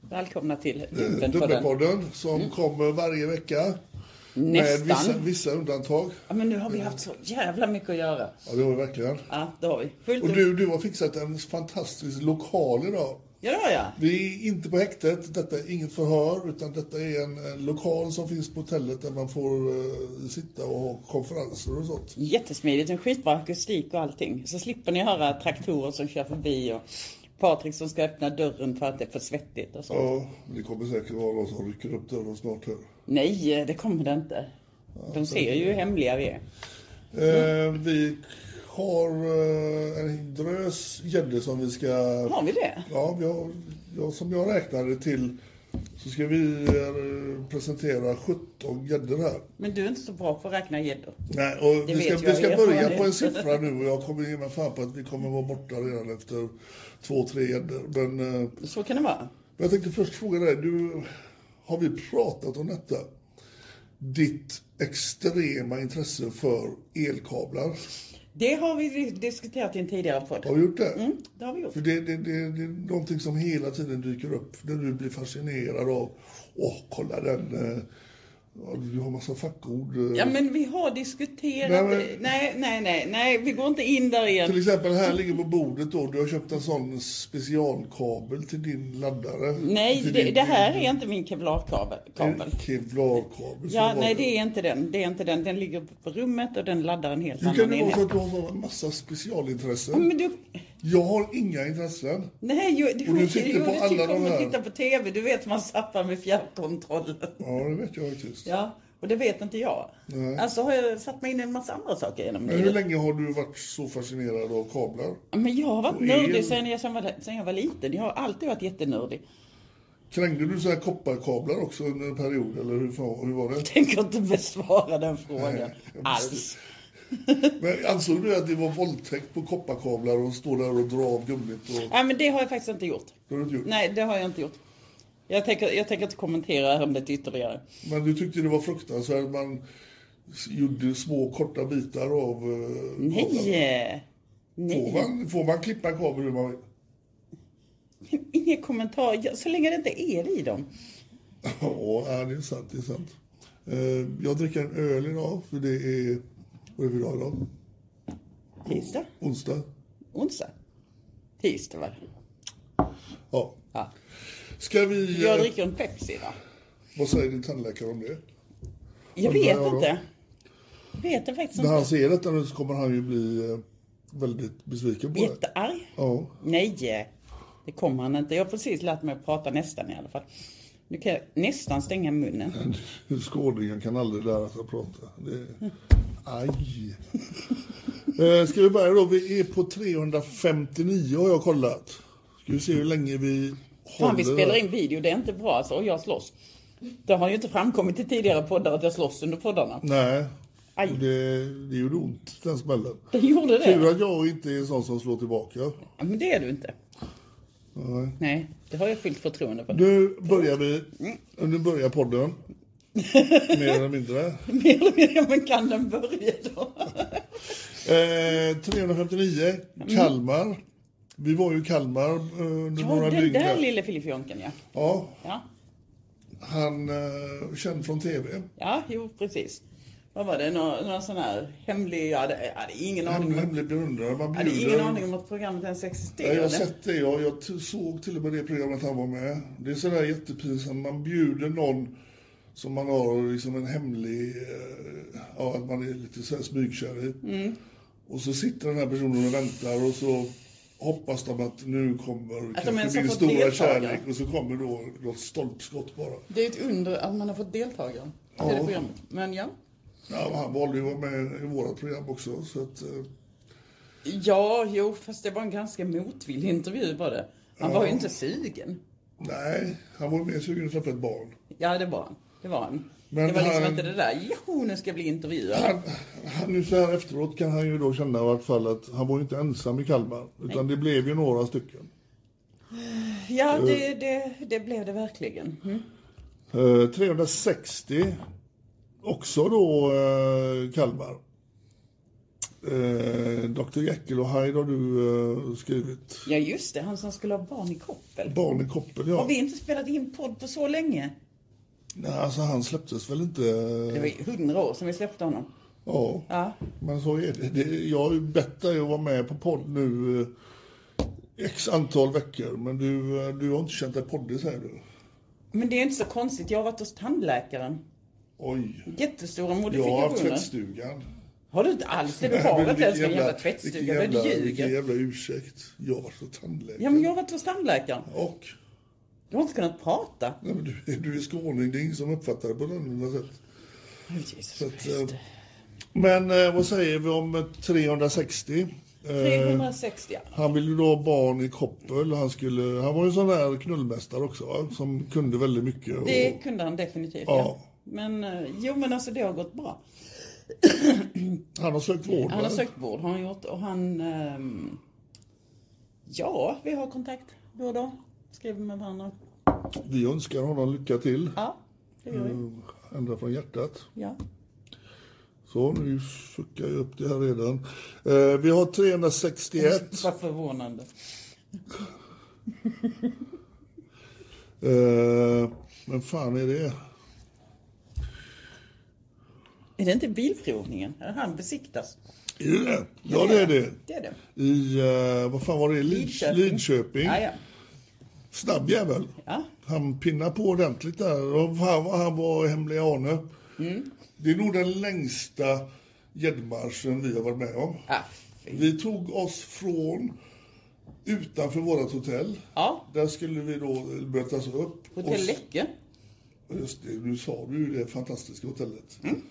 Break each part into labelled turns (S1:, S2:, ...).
S1: Välkomna till
S2: Eh,
S1: Dubbelpodden.
S2: Dubbelpodden som kommer varje vecka. Med vissa,
S1: Mm. Nästan.
S2: vissa undantag.
S1: Ja, men nu har vi haft så jävla mycket att göra.
S2: Ja, det har vi verkligen.
S1: Ja, det har vi. Fullt
S2: Och
S1: upp.
S2: du, du har fixat en fantastisk lokal idag.
S1: Ja, det har jag.
S2: Vi är inte på häktet, detta är inget förhör, utan detta är en, en lokal som finns på hotellet där man får eh, sitta och ha konferenser och sånt.
S1: Jättesmidigt. En skitbra akustik och allting. Så slipper ni höra traktorer som kör förbi och Patrik som ska öppna dörren för att det är för svettigt och sånt.
S2: Ja, det kommer säkert vara någon som rycker upp dörren snart här.
S1: Nej, det kommer det inte. De ser ju hur hemliga vi är.
S2: Eh, vi har eh, en drös gäddor som vi ska
S1: Har vi det?
S2: Ja, jag, jag, som jag räknade till så ska vi eh, presentera 17 gäddor här.
S1: Men du är inte så bra på att räkna gäddor.
S2: Nej, och
S1: Det
S2: vi ska,
S1: vet jag
S2: vi ska
S1: av
S2: börja
S1: erfarenhet.
S2: på en siffra nu och jag kommer ge mig fan på att vi kommer vara borta redan efter två, tre gäddor. Men eh, men
S1: Så kan det vara.
S2: jag tänkte först fråga dig, du, har vi pratat om detta? Ditt extrema intresse för elkablar.
S1: Det har vi diskuterat i en tidigare podd.
S2: Har vi gjort det?
S1: Mm, det har vi gjort.
S2: För det, det, det, det är någonting som hela tiden dyker upp när du blir fascinerad av, åh, kolla den, eh, ja, du har massa fackord. eh.
S1: Ja men vi har diskuterat
S2: Nej,
S1: nej,
S2: men-
S1: nej, nej, nej, vi går inte in där
S2: Till
S1: igen.
S2: exempel här ligger på bordet då, du har köpt en sån specialkabel till din laddare.
S1: Nej,
S2: Till
S1: det,
S2: din-
S1: det här är inte min kevlarkabel.
S2: En
S1: kabel.
S2: Kevlarkabel. så
S1: Ja,
S2: var
S1: nej det är inte den. Det är inte den. Den ligger på rummet och den laddar en helt
S2: Hur kan
S1: annan
S2: det vara
S1: enhet.
S2: så att du har såna massa specialintressen?
S1: Ja, men du,
S2: Jag har inga intressen.
S1: nej, ju,
S2: Och
S1: du,
S2: du
S1: sitter
S2: sitter
S1: jo,
S2: på
S1: du
S2: alla
S1: tycker
S2: de
S1: om att
S2: här.
S1: titta på TV. Du vet man zappar med fjärrkontrollen.
S2: Ja, det vet jag faktiskt.
S1: Ja, och det vet inte jag.
S2: Nej.
S1: Alltså har jag satt mig in i en massa andra saker genom
S2: Men hur
S1: livet.
S2: länge har du varit så fascinerad av kablar?
S1: Men jag har varit
S2: Och el.
S1: nördig sedan jag, sedan jag var- sedan jag var liten. Jag har alltid varit jättenördig.
S2: Krängde du så här kopparkablar också under en period, eller hur, fan- hur var det?
S1: Tänker inte besvara den frågan alls.
S2: Men ansåg du att det var våldtäkt på kopparkablar och stå där och dra av gummit? Och...
S1: Nej men det har jag faktiskt inte gjort.
S2: Det har du inte gjort.
S1: Nej det har jag inte gjort. Jag tänker, jag tänker inte kommentera ämnet ytterligare.
S2: Men du tyckte det var fruktansvärt att man s- gjorde små korta bitar av eh, kablar.
S1: Nej!
S2: Får
S1: Nej,
S2: man, får man klippa kabel hur man vill?
S1: ingen kommentar. Ja, Så länge det inte är det i dem.
S2: Ja, ja, det är sant. Det är sant. Eh, jag dricker en öl idag, för det är... Vad är vi idag idag?
S1: Tisdag?
S2: Onsdag?
S1: Onsdag? Tisdag va?
S2: Ja.
S1: Ja.
S2: Ska vi...
S1: Jag
S2: eh,
S1: dricker en Pepsi va?
S2: Vad säger din tandläkare om det?
S1: Jag
S2: Vad bra
S1: vet
S2: då.
S1: inte. Vet jag faktiskt
S2: När han
S1: inte.
S2: ser detta nu så kommer han ju bli eh, väldigt besviken på det.
S1: Jättearg.
S2: Ja.
S1: Nej, det kommer han inte. Jag har precis lärt mig att prata nästan i alla fall. Nu kan jag nästan stänga munnen.
S2: Skåningen kan aldrig lära sig att prata. Det... Aj. Eh, Ska vi börja då? Vi är på 359 har jag kollat. Ska vi se hur länge vi
S1: Fan, vi
S2: Håller
S1: spelar
S2: det.
S1: in video, det är inte bra alltså. Och jag slåss. Det har ju inte framkommit i tidigare poddar att jag slåss under poddarna.
S2: Nej.
S1: Aj.
S2: Det, det gjorde ont, den smällen.
S1: Det gjorde
S2: Tur
S1: det.
S2: att jag inte är en sån som slår tillbaka.
S1: Ja, men det är du inte.
S2: Nej.
S1: Nej, det har jag fullt förtroende för.
S2: Nu börjar vi,
S1: Mm.
S2: nu börjar podden. Mer eller mindre.
S1: Mer eller mindre, men kan den börja då?
S2: Eh, 359, Kalmar. Vi var ju i Kalmar eh, under
S1: Mm. Ja,
S2: några
S1: den
S2: dygn.
S1: där
S2: där.
S1: lille Filifjonken ja.
S2: Ja,
S1: ja.
S2: han eh, känd från TV.
S1: Ja, jo precis. Vad var det? Någon, någon sån här hemlig... Jag hade, jag hade ingen
S2: Han
S1: aning om...
S2: hemlig beundrare. Man
S1: Mm. Jag hade
S2: bjuder...
S1: ingen aning om att programmet ens
S2: Ja, jag har
S1: existerade.
S2: sett det. Jag, jag t- såg till och med det programmet han var med. Det är sådär jättepinsamt. Man bjuder någon som man har liksom en hemlig... eh, Ja, att man är lite sådär smygkär i.
S1: Mm.
S2: Och så sitter den här personen och väntar och så hoppas de att nu kommer
S1: ens
S2: kanske
S1: har
S2: min
S1: fått
S2: stora
S1: deltagare.
S2: kärlek och så kommer då något stolpskott bara.
S1: Det är ett under att man har fått deltagare i
S2: Ja.
S1: det programmet. Men ja.
S2: Ja, han valde ju att vara med i vårat program också. Så att, eh,
S1: Ja, jo, fast det var en ganska motvillig intervju var det. Han var ju inte sugen.
S2: nej, han var mer sugen att träffa ett barn.
S1: Ja, det var han. Det var han.
S2: Men
S1: det var liksom
S2: han-
S1: inte det där, jo, nu ska jag bli intervjuad.
S2: Han, han, nu så här efteråt kan han ju då känna i vart fall att han var ju inte ensam i Kalmar. Utan det blev ju några stycken.
S1: Ja, det, det, det blev det verkligen. Mm.
S2: Eh, 360, också då eh, Kalmar. Eh, Dr Jekyll och Hyde har du eh, skrivit.
S1: Ja, just det, han som skulle ha barn i koppel.
S2: Barn i koppel, ja.
S1: Har vi inte spelat in podd på så länge?
S2: Nej, alltså han släpptes väl inte.
S1: Det var
S2: Eh.
S1: ju hundra år sedan vi släppte honom.
S2: Ja.
S1: Ja.
S2: Men så är det. det jag har ju bett dig att vara med på podd nu eh, x antal veckor. Men du, eh, du har inte känt dig poddig säger du.
S1: Men det är inte så konstigt, jag har varit hos tandläkaren.
S2: Oj.
S1: Jättestora
S2: Jag har haft
S1: modifikationer.
S2: tvättstugan.
S1: Har du inte alls det? Du har inte ens en jävla
S2: vilken
S1: tvättstuga.
S2: jävla,
S1: Du
S2: vilken
S1: ljuger.
S2: jävla ursäkt. Jag var så tandläkare.
S1: Ja, men jag har varit hos tandläkaren.
S2: Och?
S1: Du har inte kunnat prata.
S2: Nej, men du, du är skåning, det är ingen som uppfattar det på något annat sätt.
S1: Oh, Jesus
S2: Så att,
S1: Christ.
S2: eh, men eh, vad säger vi om eh, 360? Eh,
S1: 360, ja.
S2: han ville ju då ha barn i koppel. Han, skulle, han var ju sån där knullmästare också, va? som kunde väldigt mycket. Och,
S1: Det kunde han definitivt.
S2: oh. Ja.
S1: Ja. Men eh, jo, men alltså det har gått bra.
S2: han har sökt vård.
S1: Han har
S2: va?
S1: sökt vård, har han gjort. Och han... ehm, ja, vi har kontakt då och då. Skriver med varandra.
S2: Vi önskar honom lycka till. Eh,
S1: Ja, det gör
S2: Mm.
S1: vi.
S2: Ända från hjärtat.
S1: Ja.
S2: Så, nu suckar jag upp det här redan. Eh, vi har 361.
S1: Vad förvånande.
S2: Eh, men fan är det?
S1: Är det inte bilprovningen? Är Han besiktas.
S2: Är det det? Ja, det är det.
S1: Det är det.
S2: I, eh, vad fan var det? Lid-
S1: Lidköping.
S2: Lidköping.
S1: Ja, ja.
S2: Snabb jävel.
S1: Ja.
S2: Han pinnar på ordentligt där. Och han, var- han var hemliga Arne.
S1: Mm.
S2: Det är nog den längsta gäddmarschen vi har varit med om.
S1: Ja, fy.
S2: Vi tog oss från utanför vårt hotell.
S1: ja.
S2: Där skulle vi då mötas upp.
S1: Hotell
S2: Och-
S1: Läcke.
S2: Just det, nu sa du ju det fantastiska hotellet.
S1: Mm.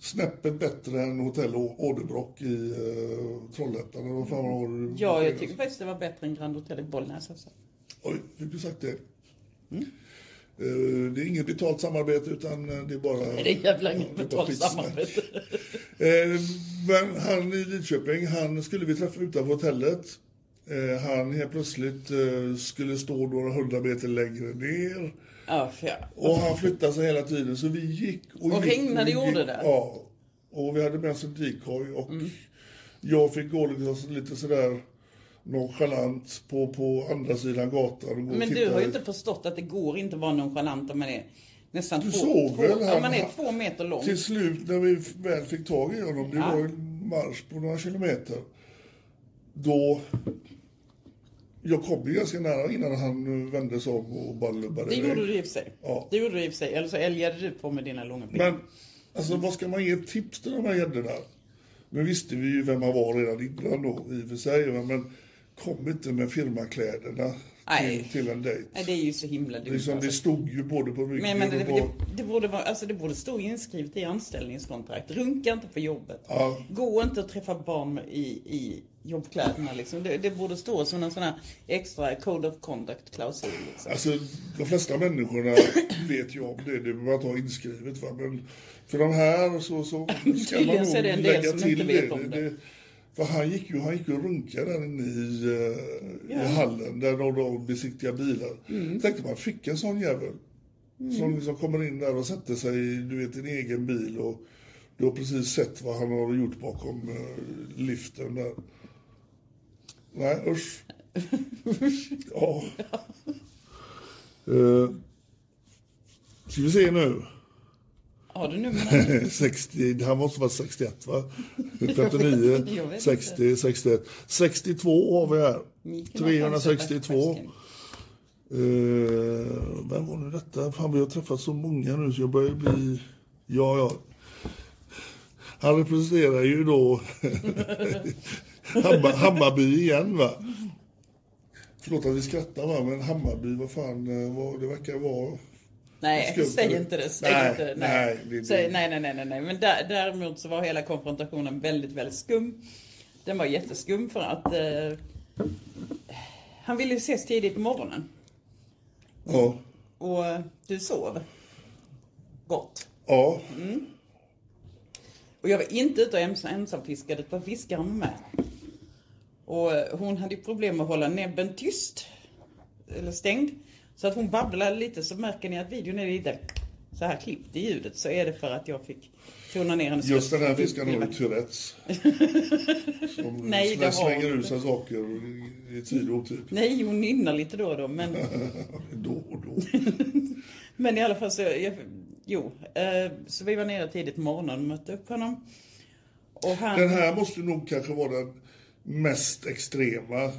S2: Snäppet bättre än hotell Å- Åderbrock i eh, Trollhättan. Eller vad fan var det?
S1: Mm. Ja, jag tycker faktiskt det var bättre än Grand Hotel i Bollnäs. Alltså.
S2: Oj, fick du sagt det?
S1: Mm.
S2: Eh, det är inget betalt samarbete utan eh, det är bara...
S1: Det är jävla inget
S2: det är bara
S1: betalt
S2: skitsnack.
S1: samarbete.
S2: Eh, men han i Lidköping, han skulle vi träffa utanför hotellet. Eh, han helt plötsligt eh, skulle stå några hundra meter längre ner.
S1: Ja, för jag-
S2: Och han flyttade sig hela tiden så vi gick och,
S1: Och
S2: gick,
S1: regnade
S2: vi
S1: gjorde det? Mm.
S2: Ja. Och vi hade med oss en dikoj och jag fick gå liksom lite sådär nonchalant på, på andra sidan gatan. Och gå och
S1: Men du
S2: titta.
S1: har ju inte förstått att det går inte att vara nonchalant om man är nästan
S2: Du
S1: två,
S2: såg
S1: två,
S2: väl
S1: om
S2: han-
S1: man är två meter lång.
S2: Till slut när vi väl fick tag i honom, det
S1: Ja.
S2: var en marsch på några kilometer. Då... Jag kom ju ganska nära innan han eh, vände sig om och bara lubbade
S1: Det
S2: iväg.
S1: gjorde du i och för sig.
S2: Ja.
S1: Det gjorde du i och för sig. Eller så älgade du på med dina långa ben.
S2: Men alltså, vad ska man ge tips till de här gäddorna? Nu visste vi ju vem han var redan innan då, i och för sig. va, Men kom inte med firmakläderna.
S1: Nej.
S2: till en dejt.
S1: Nej, det är ju så himla dumt.
S2: Liksom, det
S1: alltså.
S2: stod ju både på
S1: Men,
S2: ryggen
S1: men det,
S2: och på...
S1: det, det, borde vara, alltså det borde stå inskrivet i anställningskontrakt. Runka inte på jobbet. Gå inte och träffa barn med- i, i jobbkläderna. Liksom. Det, det borde stå som en sån här extra code of conduct-klausul. Liksom.
S2: Alltså, de flesta människorna vet ju om det. Det behöver man inte ha inskrivet. Va? Men för de här så, så ska man
S1: Tydligen så är det en
S2: nog
S1: del
S2: lägga
S1: som
S2: till
S1: inte
S2: det.
S1: vet om det.
S2: för han gick ju han gick ju och runkade där inne i, eh, i hallen där de då besiktiga bilar.
S1: Mm.
S2: Tänkte man, fick en sån jävel. Som liksom kommer in där och sätter sig i du vet, en egen bil. Och du har precis sett vad han har gjort bakom eh, liften där. Nej, usch. Ja. Uh, ska vi se nu.
S1: Har du numret?
S2: 60, Eh, han måste vara 61 va? 59,
S1: Jag vet inte.
S2: 60, 61. 62 har vi här.
S1: Mikael har chansen
S2: 362.
S1: att-
S2: Eh, vem var nu detta? Fan, vi har träffat så många nu så jag börjar bli... Ja, ja. Han representerar ju då Hammar, Hammarby igen, va? Förlåt att vi skrattar, va? men Hammarby, vad fan, eh, vad det verkar vara...
S1: Nej,
S2: Skumt,
S1: säg
S2: eller?
S1: inte det. Säg
S2: Nej,
S1: inte det.
S2: nej, det är
S1: säg,
S2: dumt.
S1: nej, nej, nej, nej, nej. Men där, däremot så var hela konfrontationen väldigt, väldigt skum. Den var jätteskum för att eh, han ville ju ses tidigt på morgonen.
S2: Ja.
S1: Och eh, du sov gott.
S2: Ja,
S1: Mm. Och jag var inte ute och ens- ensamfiskade, utan fiskaren var med. Och eh, hon hade ju problem med att hålla näbben tyst. Eller stängd. Så att hon babblade lite så märker ni att videon är lite så här klippt i ljudet. Så är det för att jag fick tona ner hennes
S2: just den här
S1: röst.
S2: fiskaren har ju Tourettes. Som
S1: Nej, det har
S2: slänger
S1: hon
S2: ut sig saker i- i tid och otid.
S1: Nej, hon nynnar lite då och då. Men,
S2: Då och då.
S1: men i alla fall så, jag, jo. Eh, så vi var nere tidigt på morgonen och mötte upp honom. Och han...
S2: Den här måste nog kanske vara den mest extrema. Eh,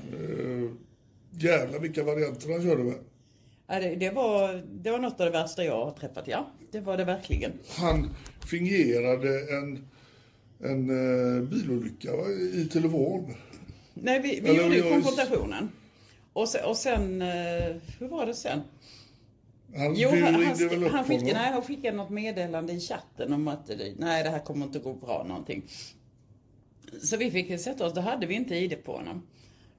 S2: jävlar vilka varianter han körde med.
S1: Ja, det, det, var, det var något av det värsta jag har träffat, ja. Det var det verkligen.
S2: Han fingerade en, en eh, bilolycka va, i telefon.
S1: Nej, vi, vi
S2: Eller
S1: gjorde ju
S2: jag-
S1: konfrontationen. Och sen, och sen, eh, hur var det sen?
S2: Han
S1: Jo,
S2: du
S1: han, han,
S2: ringde väl
S1: sk-
S2: upp
S1: han, skickade,
S2: honom.
S1: nej, han skickade något meddelande i chatten om att eh, nej, det här kommer inte gå bra någonting. Så vi fick sätta oss, då hade vi inte ID på honom.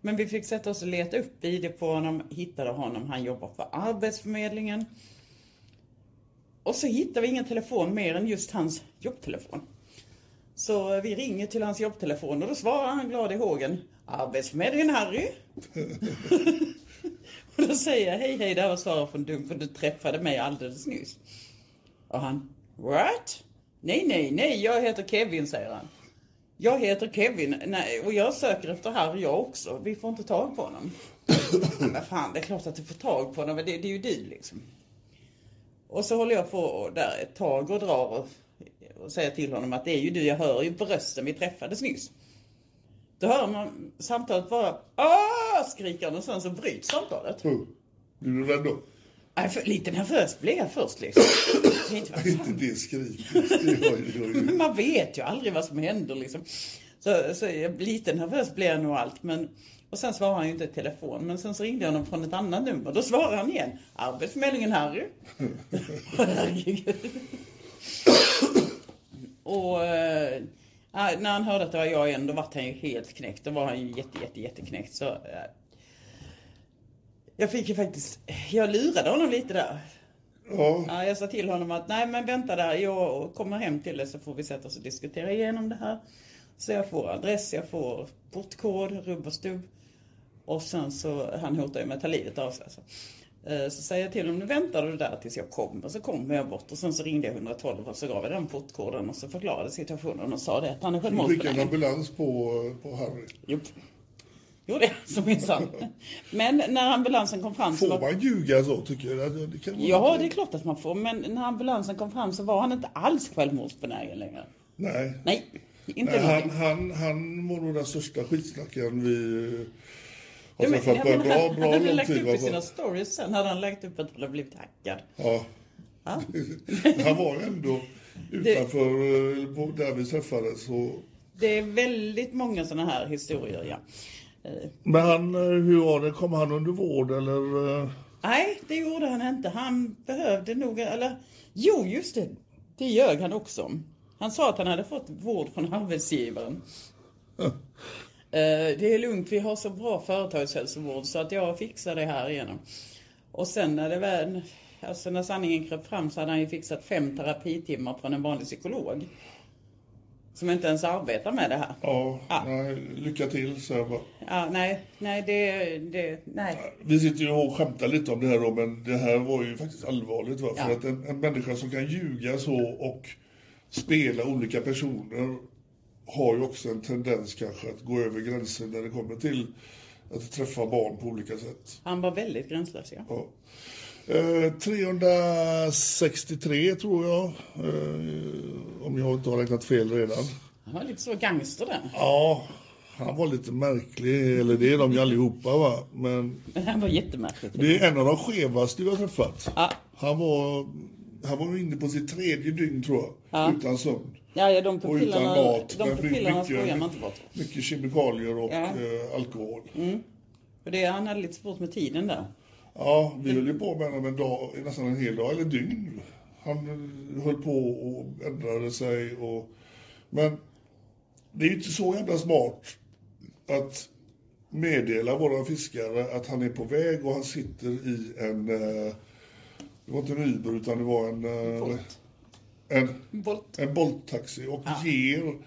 S1: Men vi fick sätta oss och leta upp ID på honom, hittade honom, han jobbar på Arbetsförmedlingen. Och så hittade vi ingen telefon mer än just hans jobbtelefon. Så eh, vi ringer till hans jobbtelefon och då svarar han glad i hågen. Arbetsförmedlingen Harry? Och då säger jag, hej hej, det här var Sara från Dumpen, du träffade mig alldeles nyss. Och han, what? Nej, nej, nej, jag heter Kevin, säger han. Jag heter Kevin, nej, och jag söker efter Harry jag också. Vi får inte tag på honom. Men vad fan, det är klart att du får tag på honom, men det, det är ju du liksom. Och så håller jag på och där ett tag och drar och, och säger till honom att det är ju du, jag hör ju på rösten, vi träffades nyss. Då hör man samtalet bara, Åh! skriker han och sen så bryts samtalet.
S2: Mm. Blev du rädd då?
S1: Nej, för, lite nervös blev jag först liksom. Jag tänkte, vad
S2: Inte
S1: fan?
S2: det skriket. Det var ju- det var ju-
S1: Men Man vet ju aldrig vad som händer liksom. Så, så jag, lite nervös blev jag nog allt. Men, och sen svarade han ju inte i telefon. Men sen så ringde jag honom från ett annat nummer. Då svarade han igen. Arbetsförmedlingen Harry. Herregud. och eh, ja, när han hörde att det var jag igen, då var han ju helt knäckt. Då var han ju jätte, jätte, jätteknäckt. Så, eh, jag fick ju faktiskt, jag lurade honom lite där.
S2: Ja.
S1: Ja, jag sa till honom att nej men vänta där, jag kommer hem till dig så får vi sätta oss och diskutera igenom det här. Så jag får adress, jag får portkod, rubb och stubb. Och sen så, han hotar ju med att ta livet av sig. Så. Eh, så säger jag till honom, nu väntar du där tills jag kommer. Så kommer jag bort och sen så ringde jag 112 och så gav jag den portkoden och så förklarade situationen och sa det att han är
S2: Du skickade en
S1: självmordsbenägen.
S2: ambulans på, på Harry.
S1: Jo, Jo, det är så minsann. Men när ambulansen kom fram så
S2: Får
S1: var
S2: man ljuga så tycker jag? Det- Det kan vara
S1: Ja,
S2: lite-
S1: det är klart att man får. Men när ambulansen kom fram så var han inte alls självmordsbenägen längre.
S2: Nej.
S1: Nej, inte
S2: Nej, Alltså, han,
S1: någonting.
S2: han, han var nog den största skitsnackaren vi alltså, eh, har
S1: Ja, men-
S2: träffat
S1: ja,
S2: på
S1: men
S2: en bra,
S1: han- Han
S2: bra
S1: hade
S2: lång
S1: lagt
S2: tid.
S1: upp i sina
S2: Alltså.
S1: stories sen hade han lagt upp att han hade blivit hackad.
S2: Ja.
S1: Ja.
S2: Han var ändå utanför eh, på- där vi träffades. Och,
S1: Det är väldigt många sådana här historier, ja.
S2: Men han, eh, hur var det? Kom han under vård eller? eh,
S1: Nej, det gjorde han inte. Han behövde nog, eller jo just det, det ljög han också om. Han sa att han hade fått vård från arbetsgivaren. Eh, Det är lugnt, vi har så bra företagshälsovård så att jag fixar det här igenom. Och sen när det väl, alltså när sanningen kröp fram så hade han ju fixat fem terapitimmar från en vanlig psykolog. Som inte ens arbetar med det här.
S2: Ja,
S1: Ah.
S2: nej, lycka till så jag bara.
S1: Ja, nej, nej, det, det, nej.
S2: Vi sitter ju och skämtar lite om det här då, men det här var ju faktiskt allvarligt. Va? För
S1: Ja.
S2: att en, en människa som kan ljuga så och spela olika personer har ju också en tendens kanske att gå över gränser när det kommer till att träffa barn på olika sätt.
S1: Han var väldigt gränslös ja.
S2: Ja. Eh, 363 tror jag, eh, om jag inte har räknat fel redan.
S1: Han var lite så gangster där.
S2: Ja, han var lite märklig, eller det är de ju allihopa va. Men
S1: Men han var jättemärklig.
S2: det är en av de skevaste jag har träffat.
S1: Ja.
S2: Han var, han var inne på sitt tredje dygn tror jag, utan sömn.
S1: Ja, ja, de
S2: Och utan
S1: pupillerna,
S2: mat.
S1: de
S2: men
S1: pupillerna skojar man inte bort.
S2: mycket kemikalier och
S1: Ja.
S2: eh, alkohol.
S1: För det, han hade lite svårt med tiden där.
S2: Ja, vi höll ju på med honom en dag, nästan en hel dag, eller dygn. Han eh, höll på och ändrade sig. Och, men det är ju inte så jävla smart att meddela våra fiskare att han är på väg och han sitter i en... eh, Det var inte en Uber utan det var en... eh,
S1: Bolt.
S2: En,
S1: Bolt.
S2: en bolttaxi och ger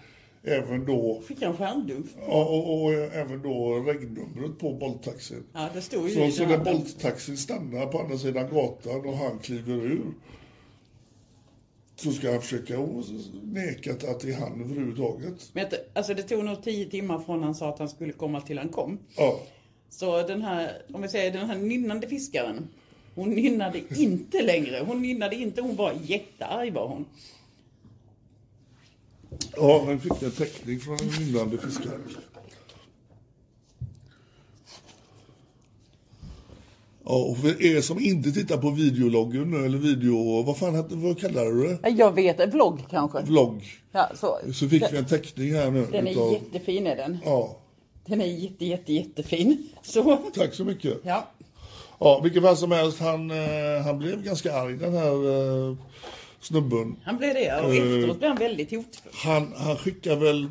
S2: även då,
S1: Skickade en stjärndump.
S2: ja, och, och även då regnumret på bolttaxin.
S1: Ja, det stod ju
S2: Så,
S1: i
S2: så
S1: den
S2: när
S1: här bolt.
S2: bolttaxin stannar på andra sidan gatan och han kliver ur så ska han försöka och neka att det är han överhuvudtaget.
S1: Men att- alltså det tog nog tio timmar från han sa att han skulle komma till han kom.
S2: Ja,
S1: Så den här, om vi säger den här nynnande fiskaren. Hon nynnade inte längre. Hon nynnade inte. Hon var jättearg var hon.
S2: ja han fick en teckning från en vinnande fiskare. Ja, och för er som inte tittar på videologgen nu, eller video... Vad fan hette- vad kallar du det?
S1: Jag vet, en vlogg kanske.
S2: Vlogg.
S1: Ja, så.
S2: Så fick vi en teckning här nu.
S1: Den är
S2: utav-
S1: jättefin är den.
S2: Ja,
S1: Den är jätte, jätte, jättefin. Så.
S2: tack så mycket.
S1: Ja.
S2: Ja, vilken fall som helst, han, eh, han blev ganska arg den här eh, snubben.
S1: Han blev det och
S2: Eh.
S1: efteråt blev han väldigt hotfull.
S2: Han, han skickar väl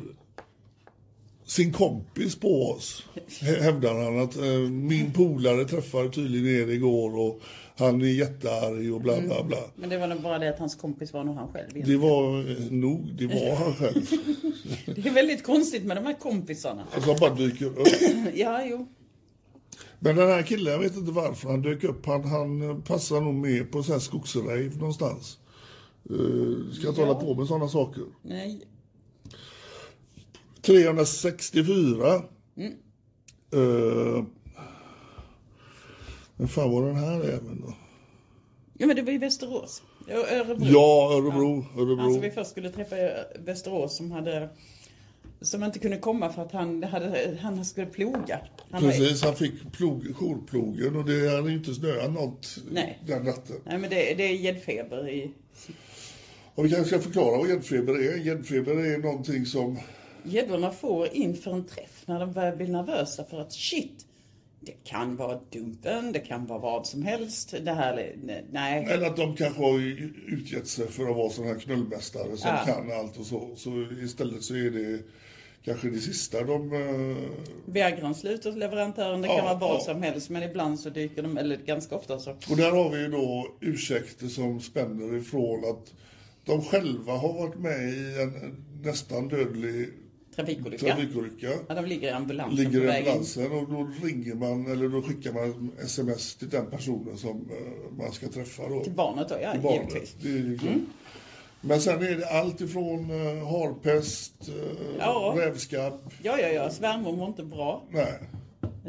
S2: sin kompis på oss, hä- hävdar han. Att eh, min polare träffade tydligen er igår och han är jättearg och bla bla bla.
S1: Men det var nog bara det att hans kompis var nog han själv.
S2: Det var eh, nog, det var han själv.
S1: Det är väldigt konstigt med de här kompisarna.
S2: Alltså han bara dyker upp.
S1: Ja, jo.
S2: Men den här killen, jag vet inte varför han dök upp. Han, han eh, passar nog med på så här skogsrave någonstans. Eh, ska inte hålla på med sådana saker.
S1: Nej.
S2: 364. Eh, men fan var den här även då?
S1: Ja, men det var ju Västerås. Ö- Örebro.
S2: Ja, Örebro. Örebro.
S1: Alltså vi först skulle träffa i Västerås som hade som inte kunde komma för att han, hade, han skulle ploga. Han var-
S2: Precis, han fick plog, jourplogen och det hade inte snöat något
S1: Nej.
S2: den natten.
S1: Nej men det, det är gäddfeber i...
S2: Och vi kanske ska förklara vad gäddfeber är. Gäddfeber är någonting som...
S1: Gäddorna får inför en träff när de börjar bli nervösa för att shit, det kan vara dumpen, det kan vara vad som helst. Det här, är- nej. nej.
S2: Eller att de kanske har utgett sig för att vara sådana här knullmästare som
S1: Ja.
S2: kan allt och så. Så istället så är det kanske det sista de... eh,
S1: Viagran slutar hos leverantören, det
S2: Ja,
S1: kan vara vad
S2: ja.
S1: som helst men ibland så dyker de, eller ganska ofta så
S2: Och där har vi ju då ursäkter som spänner ifrån att de själva har varit med i en nästan dödlig
S1: trafikolycka.
S2: trafikolycka.
S1: Ja, de ligger i ambulansen
S2: Ligger
S1: på
S2: i
S1: vägen.
S2: ambulansen och då ringer man eller då skickar man sms till den personen som eh, man ska träffa då.
S1: Till barnet då, ja
S2: Till barnet.
S1: givetvis. Mm.
S2: Det är ju klart. Men sen är det allt ifrån eh, harpest, eh,
S1: Ja.
S2: rävskabb.
S1: Ja, ja, ja, svärmor mår inte bra.
S2: Nej,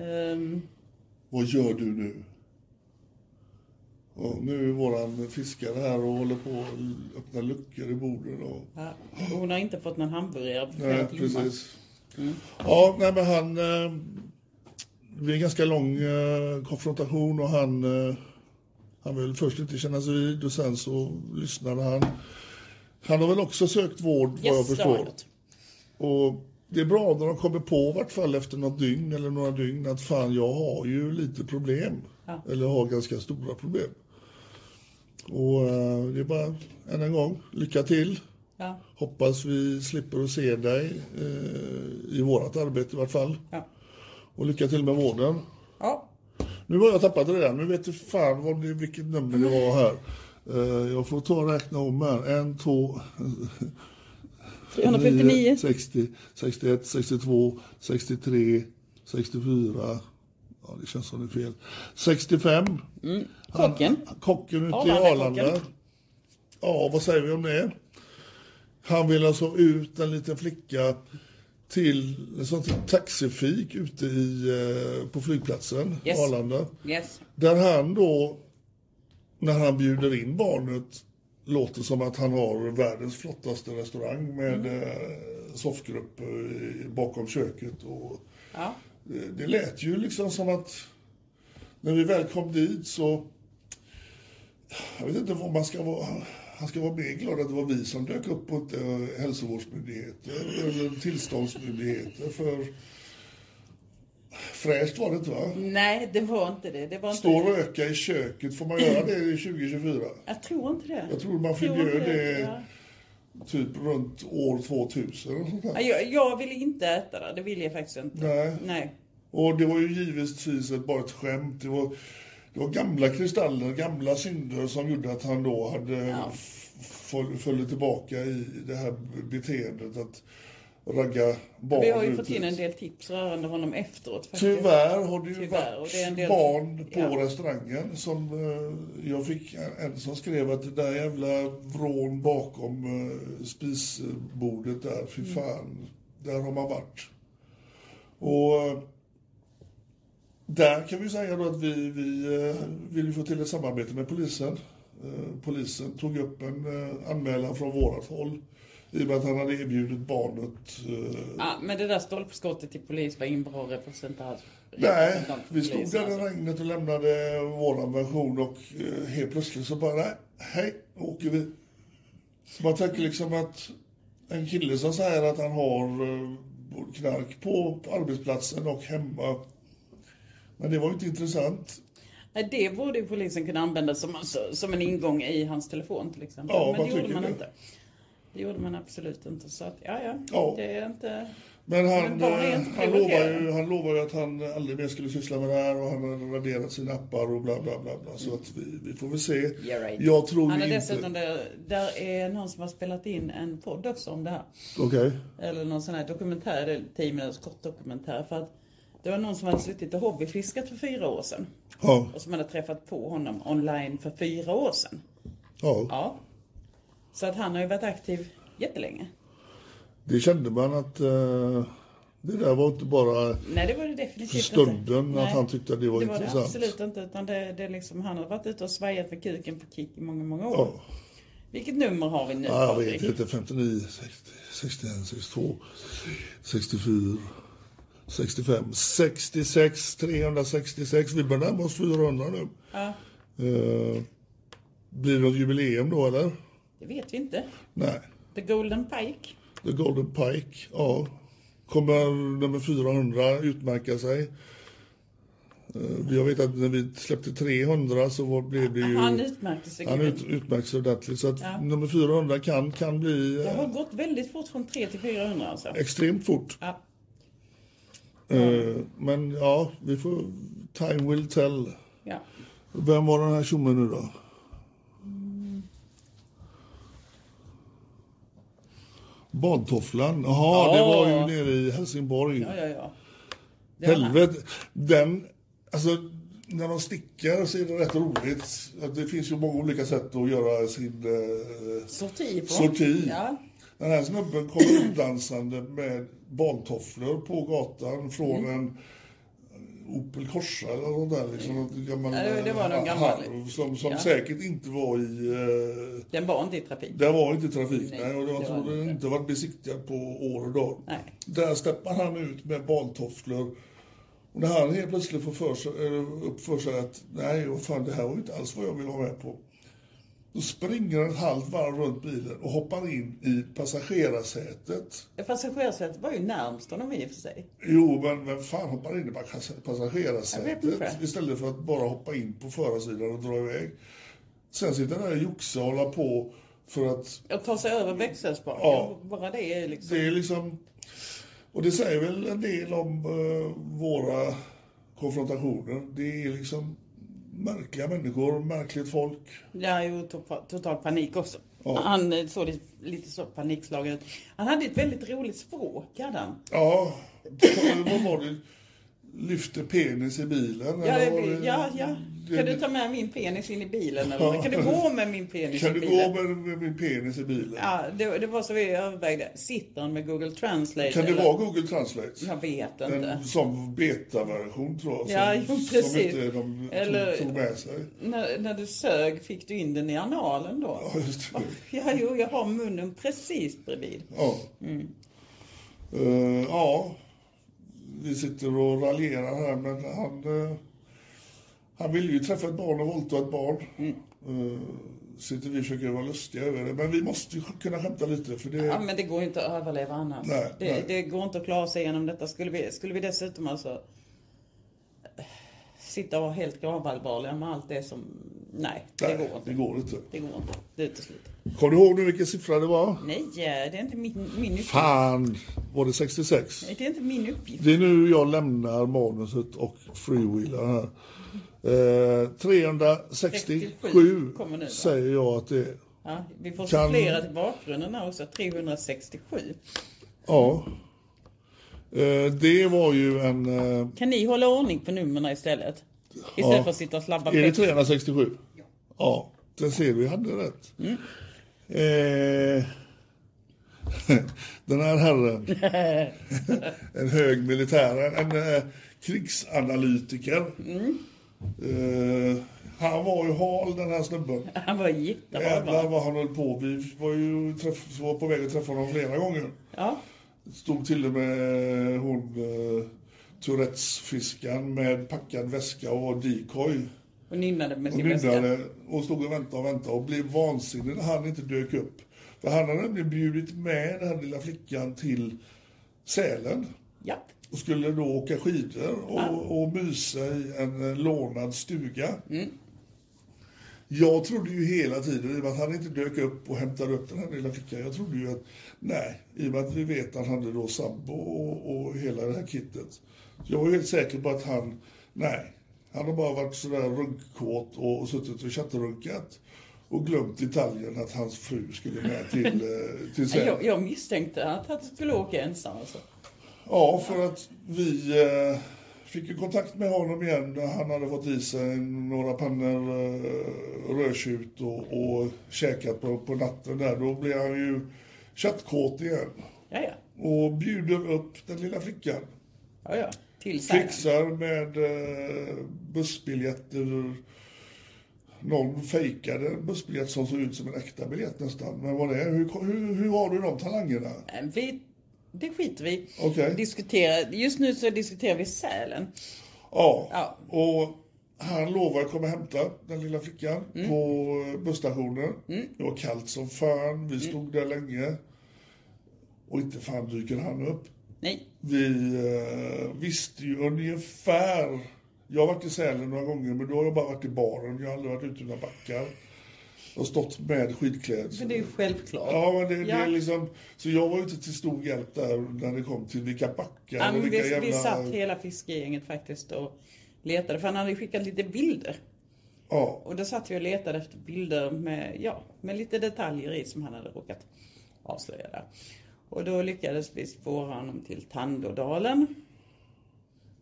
S1: Ehm,
S2: vad gör du nu? Och nu är våran fiskare här och håller på att öppna luckor i borden. Och...
S1: ja. Och hon har inte fått någon hamburgare på flera
S2: Nej,
S1: timmar. Mm.
S2: precis. Ja, nej, men han... Eh, det är en ganska lång eh, konfrontation och han... Eh, han vill först inte känna sig vid och sen så lyssnade han. Han har väl också sökt vård vad jag
S1: Yes, det har
S2: förstår.
S1: hon gjort.
S2: Och Det är bra när de kommer på i vart fall efter något dygn eller några dygn att fan jag har ju lite problem. Eller har ganska stora problem. Och eh, det är bara än en gång, lycka till.
S1: Ja.
S2: Hoppas vi slipper att se dig eh, i vårat arbete i vart fall.
S1: Ja.
S2: Och lycka till med vården.
S1: ja.
S2: Nu har jag tappat det där. Nu vet du fan vad det, vilket nummer det var här. Eh, jag får ta och räkna om här. En, två, Eh,
S1: 359.
S2: 60, 61, 62, 63, 64. Ja, det känns som det är fel. 65.
S1: Kocken.
S2: Kocken ute i
S1: Arlandakocken.
S2: Arlanda. Ja, vad säger vi om det? Han vill alltså ut en liten flicka till en sån taxifik ute i, eh, på flygplatsen
S1: Yes.
S2: Arlanda.
S1: Yes.
S2: Där han då, när han bjuder in barnet, låter som att han har världens flottaste restaurang med eh, soffgrupp eh, bakom köket. Och,
S1: Ja.
S2: eh, det lät ju liksom som att när vi väl kom dit så... Jag vet inte vad man ska vara... Han ska vara mer glad att det var vi som dök upp och inte eh, hälsovårdsmyndigheter eller tillståndsmyndigheter. För fräscht var det inte, va?
S1: Nej, det var inte det. det var inte
S2: Stå och
S1: det.
S2: röka i köket, får man göra det i 2024?
S1: Jag tror inte det.
S2: Jag tror
S1: Tror
S2: man förbjöd
S1: inte
S2: det
S1: ja.
S2: typ runt år 2000. och sånt där.
S1: Ja, Jag, jag vill inte äta det. Det vill jag faktiskt inte.
S2: Nej.
S1: Nej.
S2: Och det var ju givetvis ett- bara ett skämt. Det var, det var gamla kristaller, gamla synder som gjorde att han då hade f- föll, föll tillbaka i det här beteendet att ragga barn
S1: Vi har ju
S2: ut
S1: fått in
S2: hit.
S1: en del tips rörande honom efteråt. Faktiskt.
S2: Tyvärr har det ju
S1: Tyvärr, och
S2: varit
S1: det är en del-
S2: barn på
S1: ja.
S2: restaurangen som eh, jag fick en som skrev att det där jävla vrån bakom eh, spisbordet där,
S1: Mm.
S2: fy fan, där har man varit. Och eh, där kan vi säga då att vi, vi eh, vill ju få till ett samarbete med polisen. Eh, Polisen tog upp en eh, anmälan från vårat håll i och med att han hade erbjudit barnet eh,
S1: Ja, men det där stolpskottet till polis var ingen bra representant.
S2: Nej,
S1: representant för
S2: vi stod
S1: polisen,
S2: där i
S1: alltså.
S2: regnet och lämnade vår version och eh, helt plötsligt så bara, nej, hej, nu åker vi. Man tänker liksom att en kille som säger att han har eh, knark på arbetsplatsen och hemma. Men det var ju inte intressant.
S1: Nej, det borde ju polisen kunna använda som, alltså, som en ingång i hans telefon till exempel.
S2: Ja,
S1: men
S2: vad
S1: det gjorde
S2: tycker
S1: man
S2: du?
S1: inte. Det gjorde man absolut inte. Så att, ja, ja.
S2: Ja.
S1: Det är inte...
S2: Men han,
S1: Men barn är
S2: eh,
S1: inte
S2: han, lovar
S1: prioriterade.
S2: ju, han lovar ju att han aldrig mer skulle syssla med det här och han har raderat sina appar och bla bla bla. bla. Så att vi, vi får väl se.
S1: Yeah, right.
S2: Jag tror
S1: Han
S2: ju
S1: är
S2: inte...
S1: dessutom där, där är någon som har spelat in en podd också om det här.
S2: Okej.
S1: Eller någon sån här dokumentär, det är 10 minuters kort dokumentär. För att det var någon som hade suttit och hobbyfiskat för fyra år sedan.
S2: Ja.
S1: Och som hade träffat på honom online för fyra år sedan.
S2: ja.
S1: Ja. Så att han har ju varit aktiv jättelänge.
S2: Det kände man att eh, det där var inte bara
S1: Nej det var det definitivt
S2: För stunden
S1: inte.
S2: att
S1: Nej.
S2: han tyckte att det var
S1: det Var
S2: intressant.
S1: det absolut inte. Utan det, det är liksom, han har varit ute och svajat med kuken på kick i många, många år.
S2: ja,
S1: Vilket nummer har vi nu
S2: ja, jag
S1: Patrik?
S2: vet inte, 59, 60, 61, 62, 64, 65, 66, 366. Vi börjar närma oss 400 nu. Eh, blir det något jubileum då eller?
S1: Det vet vi inte.
S2: Nej.
S1: The Golden Pike.
S2: The Golden Pike, ja. Kommer nummer 400 utmärka sig? Eh, Jag vet att när vi släppte 300 så var- blev det ju...
S1: Han utmärkte sig.
S2: Han
S1: grymt.
S2: ut, utmärks ordentligt. Så att nummer 400 kan, kan bli
S1: Det
S2: eh,
S1: har gått väldigt fort från 3 till 400 alltså.
S2: extremt fort.
S1: Ja.
S2: Eh, men ja, vi får... Time will tell.
S1: ja.
S2: Vem var den här tjommen nu då? Badtofflan. Jaha, det var
S1: Ja.
S2: ju nere i Helsingborg.
S1: Ja, ja, ja. Det har han.
S2: Helvete. Den, alltså när de stickar så är det rätt roligt. Att Det finns ju många olika sätt att göra sin... Eh,
S1: Sorti på.
S2: Sorti.
S1: Ja.
S2: Den här snubben kom utdansande med badtofflor på gatan från
S1: Mm.
S2: en Opel Corsa eller något där. Liksom, något gammal,
S1: Ja, det- det var någon gammal.
S2: harv som, som
S1: Ja.
S2: säkert inte var i... Eh,
S1: Den var inte i trafik.
S2: där var inte trafik, nej.
S1: Nej,
S2: och jag
S1: det
S2: tror
S1: var
S2: den
S1: inte.
S2: inte varit besiktigad på år och dag.
S1: Nej.
S2: Där steppar han ut med badtofflor. Och när han helt plötsligt eh, får för sig, eller upp för sig att nej, vad fan, det här var ju inte alls vad jag ville ha med på. Då springer han ett halvt varv runt bilen och hoppar in i passagerarsätet.
S1: Passagerarsätet var ju närmst honom i och för sig.
S2: Jo, men vem fan hoppar in i pass-
S1: Jag vet inte.
S2: passagerarsätet istället för att bara hoppa in på förarsidan och dra iväg? Sen sitter han där och joxar och håller på för att
S1: Att ta sig över växelspaken,
S2: Ja.
S1: bara det är liksom...
S2: det är liksom... Och det säger väl en del om eh, våra konfrontationer. Det är liksom märkliga människor, märkligt folk.
S1: Ja, ju to- total panik också.
S2: Ja.
S1: Han eh, såg lite, lite så panikslagen ut. Han hade ett väldigt roligt språk, hade han.
S2: Ja, vad var det? Lyfte penis i bilen?
S1: Ja,
S2: eller
S1: det,
S2: var
S1: blir-
S2: det-
S1: eh, ja, ja.
S2: det-
S1: Kan du ta med min penis in i bilen? Eller? Kan du gå med min penis
S2: Kan
S1: i
S2: du
S1: bilen?
S2: gå med, med min penis i bilen?
S1: Ja, det, det var så vi övervägde. Sitter han med Google Translate?
S2: Kan det
S1: eller?
S2: vara Google Translate?
S1: Jag vet inte.
S2: En som betaversion tror jag. Som,
S1: Ja, jo,
S2: som
S1: precis.
S2: inte de
S1: Eller-
S2: tog, tog med sig.
S1: När, när du sög, fick du in den i analen då?
S2: Ja, just det.
S1: Ja, jo, jag har munnen precis bredvid.
S2: Ja. Eh, ja. Vi sitter och raljerar här men han, eh, han ville ju träffa ett barn och våldta ett barn.
S1: Mm.
S2: Eh, sitter vi och försöker vara lustiga över det. Men vi måste ju kunna skämta lite för det...
S1: Ja, men det går ju inte att överleva annars.
S2: Nej,
S1: det,
S2: nej.
S1: det går inte att klara sig igenom detta. Skulle vi, skulle vi dessutom alltså eh, sitta och vara helt gravallvarliga med allt det som... Nej, det
S2: Nej,
S1: går inte.
S2: det går inte.
S1: Det går inte. Det utesluter.
S2: Kommer du ihåg nu vilken siffra det var?
S1: Nej, eh, det är inte min, min uppgift.
S2: Fan! Var det 66?
S1: Nej, Det är inte min uppgift.
S2: Det är nu jag lämnar manuset och freewheelar här. Eh, 367
S1: kommer nu, va?
S2: säger jag att det är.
S1: Ja, vi får
S2: Kan-
S1: supplera till bakgrunden här också. 367.
S2: Ja. Eh, det var ju en... Eh,
S1: Kan ni hålla ordning på numren istället? Istället för att sitta och slabba
S2: är det
S1: pepsi.
S2: 367? Ja. Ja, den ser vi hade rätt.
S1: Mm.
S2: Eh, den här herren. en hög militär, en, en eh, krigsanalytiker.
S1: Mm.
S2: Eh, han var ju hal den här snubben.
S1: Han var jättebra.
S2: Jävlar
S1: va?
S2: vad han höll på. Vi var ju träff, var på väg att träffa honom flera gånger.
S1: Ja,
S2: Stod till och med hon eh, Tourettes-fiskan med packad väska och var decoy.
S1: och nynnade med
S2: Och
S1: sin väska.
S2: nynnade och stod och väntade och väntade och blev vansinnig när han inte dök upp. För han hade nämligen bjudit med den här lilla flickan till Sälen
S1: Ja.
S2: och skulle då åka skidor och, och mysa i en eh, lånad stuga. Jag trodde ju hela tiden, i och med att han inte dök upp och hämtade upp den här lilla flickan, jag trodde ju att, nej, i och med att vi vet att han hade då sambo och, och hela det här kittet. Jag var ju helt säker på att han, nej, han har bara varit sådär runkkåt och, och suttit och chattrunkat och glömt detaljen att hans fru skulle med till, eh, till Sälen.
S1: Jag, jag misstänkte att han skulle åka ensam. Alltså.
S2: Ja, för att vi eh, fick ju kontakt med honom igen när han hade fått i sig några pannor eh, rödtjut och, och käkat på, på natten där. Då blev han ju chattkåt igen
S1: Ja, ja.
S2: och bjuder upp den lilla flickan.
S1: ja, ja. Till Sälen.
S2: Fixar med eh, bussbiljetter. Någon fejkade en bussbiljett som såg ut som en äkta biljett nästan. Men vad det är, hur, hur, hur har du de talangerna?
S1: Nej, Vi, det skiter vi
S2: Okej.
S1: diskutera. Just nu så diskuterar vi Sälen.
S2: Ja.
S1: Ja.
S2: Och han lovar att komma och hämta den lilla flickan
S1: Mm.
S2: på eh, busstationen. Det var kallt som fan.
S1: Mm.
S2: Vi stod där länge. Och inte fan dyker han upp.
S1: Nej,
S2: Vi eh, visste ju ungefär. Jag har varit i Sälen några gånger men då har jag bara varit i baren. Jag har aldrig varit ute utan backar. Och stått med
S1: för
S2: skidklädsel.
S1: det är ju självklart.
S2: Ja, men det, det
S1: Ja.
S2: är liksom... Så jag var ute till stor hjälp där när det kom till vilka backar
S1: Ja,
S2: och
S1: men
S2: vilka
S1: vi,
S2: jävla...
S1: vi satt hela fiskegänget faktiskt och letade. För han hade ju skickat lite bilder.
S2: ja.
S1: Och då satt vi och letade efter bilder med, ja, med lite detaljer i som han hade råkat avslöja där. Och då lyckades vi spåra honom till Tandådalen.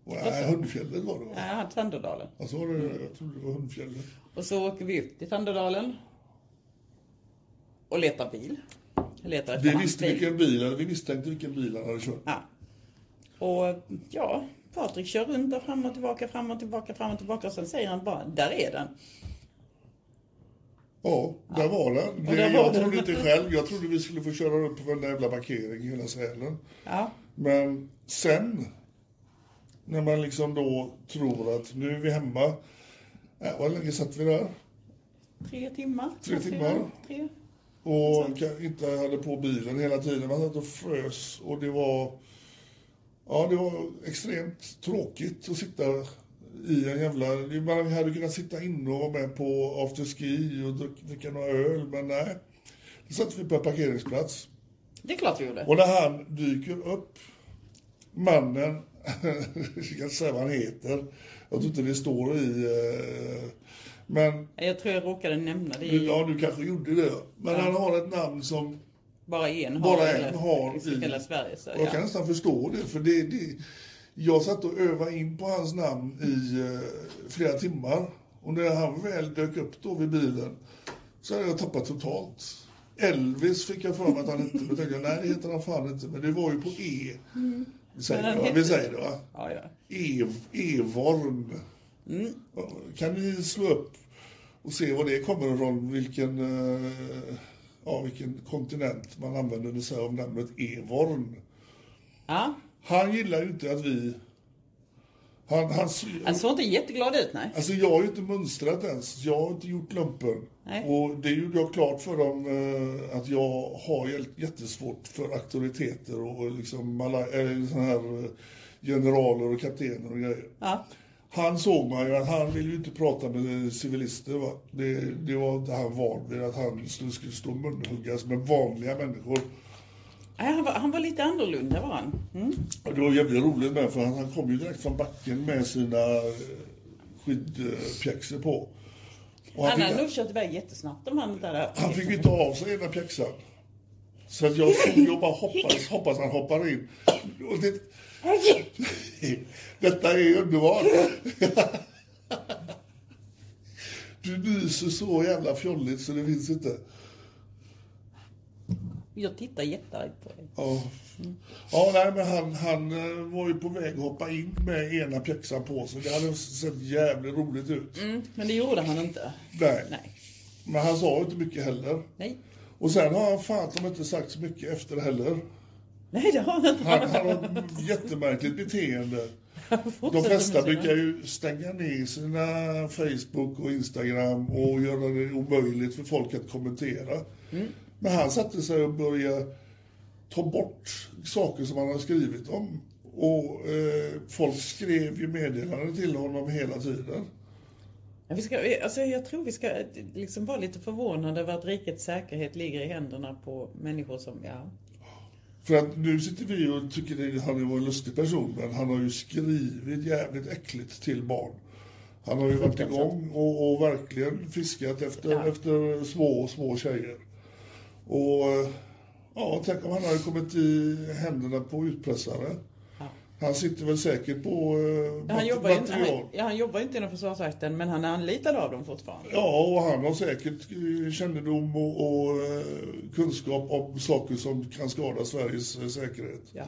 S2: Nej, Hundfjället eh, var det va?
S1: Ja, Tandådalen.
S2: Alltså var det, jag trodde det var Hundfjället.
S1: Och så åker vi upp till Tandådalen. Och letar bil. Letar efter
S2: Vi
S1: hans
S2: visste
S1: bil.
S2: vilken bil, eller vi misstänkte vilken bil han hade kört.
S1: Ja. Och ja, Patrik kör runt och fram och tillbaka, fram och tillbaka, fram och tillbaka. Och sen säger han bara, där är den.
S2: Ja, där var den. Det,
S1: där var
S2: jag
S1: den.
S2: trodde inte själv. Jag trodde vi skulle få köra upp på varenda jävla parkering i hela Sälen.
S1: Ja,
S2: Men sen, när man liksom då tror att nu är vi hemma. Äh, vad länge satt vi där?
S1: Tre timmar?
S2: Tre timmar.
S1: Tre.
S2: Och ka- inte hade på bilen hela tiden. Man satt och frös och det var... Ja, det var extremt tråkigt att sitta i en jävla... det är bara- Vi hade kunnat sitta inne och vara med på afterski och drick- dricka några öl, men nej. Då satt vi på en parkeringsplats.
S1: Det är klart vi gjorde.
S2: Och när han dyker upp, mannen, jag kan inte säga vad han heter, jag tror inte det står i... eh, Men,
S1: Jag tror jag råkade nämna det i,
S2: ja du kanske gjorde det. Men han har ett namn som
S1: bara en har
S2: bara
S1: eller-
S2: en har
S1: i hela Sverige. Så,
S2: Och Jag kan
S1: ja.
S2: nästan förstå det, för det, det... Jag satt och övade in på hans namn i eh, flera timmar. Och när han väl dök upp då vid bilen så hade jag tappat totalt. Elvis fick jag för mig att han inte... Men tänkte jag, nej, det heter han fan inte. Men det var ju på E.
S1: Mm.
S2: Vi säger det, va? Vi säger det, va?
S1: Ja, ja.
S2: Ev, Evorn. Kan ni slå upp och se var det kommer ifrån, vilken, eh, ja, vilken kontinent man använder sig av namnet Evorn.
S1: ja.
S2: Han gillar ju inte att vi... Han, han,
S1: Han såg inte jätteglad ut, nej.
S2: alltså jag har ju inte mönstrat ens, jag har inte gjort lumpen.
S1: Nej.
S2: Och det gjorde jag klart för dem eh, att jag har jä- jättesvårt för auktoriteter och liksom mala, eller såna här eh, generaler och kaptener och grejer.
S1: Ja.
S2: Han såg man ju, att han ville ju inte prata med civilister. Va? Det, det var inte han van vid, att han skulle skulle stå och munhuggas med vanliga människor.
S1: Nej, Han var, han var lite annorlunda var han. Mm.
S2: Och det var jävligt roligt med, för han, han kom ju direkt från backen med sina eh, skidpjäxor på. Och
S1: Han
S2: han,
S1: hade nog
S2: fick,
S1: kört iväg jättesnabbt om han inte hade haft
S2: han fick ju inte av sig ena pjäxan. Så att jag stod ju och bara hoppades, hoppas han hoppar in. Och det, detta är ju underbart. Du nyser så jävla fjolligt så det finns inte.
S1: Jag tittar jätteargt på dig.
S2: Ja, ja nej, men han, han eh, var ju på väg att hoppa in med ena pjäxan på sig. Det hade sett jävligt roligt ut.
S1: Men det gjorde han inte.
S2: Nej.
S1: Nej.
S2: Men han sa ju inte mycket heller.
S1: Nej,
S2: Och sen har han fan de inte sagt så mycket efter heller.
S1: Nej det har han inte.
S2: Han, han har ett jättemärkligt beteende.
S1: Fortsätter
S2: De
S1: med
S2: flesta
S1: sina-
S2: brukar ju stänga ner sina Facebook och Instagram och göra det omöjligt för folk att kommentera. Men han satte sig och började ta bort saker som han hade skrivit om. Och eh, folk skrev ju meddelanden till honom hela tiden.
S1: Vi ska, alltså jag tror vi ska liksom vara lite förvånade över att rikets säkerhet ligger i händerna på människor som, ja.
S2: För att nu sitter vi och tycker att han var en lustig person, men han har ju skrivit jävligt äckligt till barn. Han har ju varit igång och, och verkligen fiskat efter, efter små, små tjejer. Och eh, ja, tänk om han hade kommit i händerna på utpressare. Han sitter väl säkert på eh,
S1: Han
S2: mat-
S1: jobbar, ju inte,
S2: material.
S1: han, ja, han jobbar ju inte inom Försvarsmakten men han är anlitad av dem fortfarande.
S2: Ja, och han har säkert eh, kännedom och, och eh, kunskap om saker som kan skada Sveriges eh, säkerhet.
S1: Ja.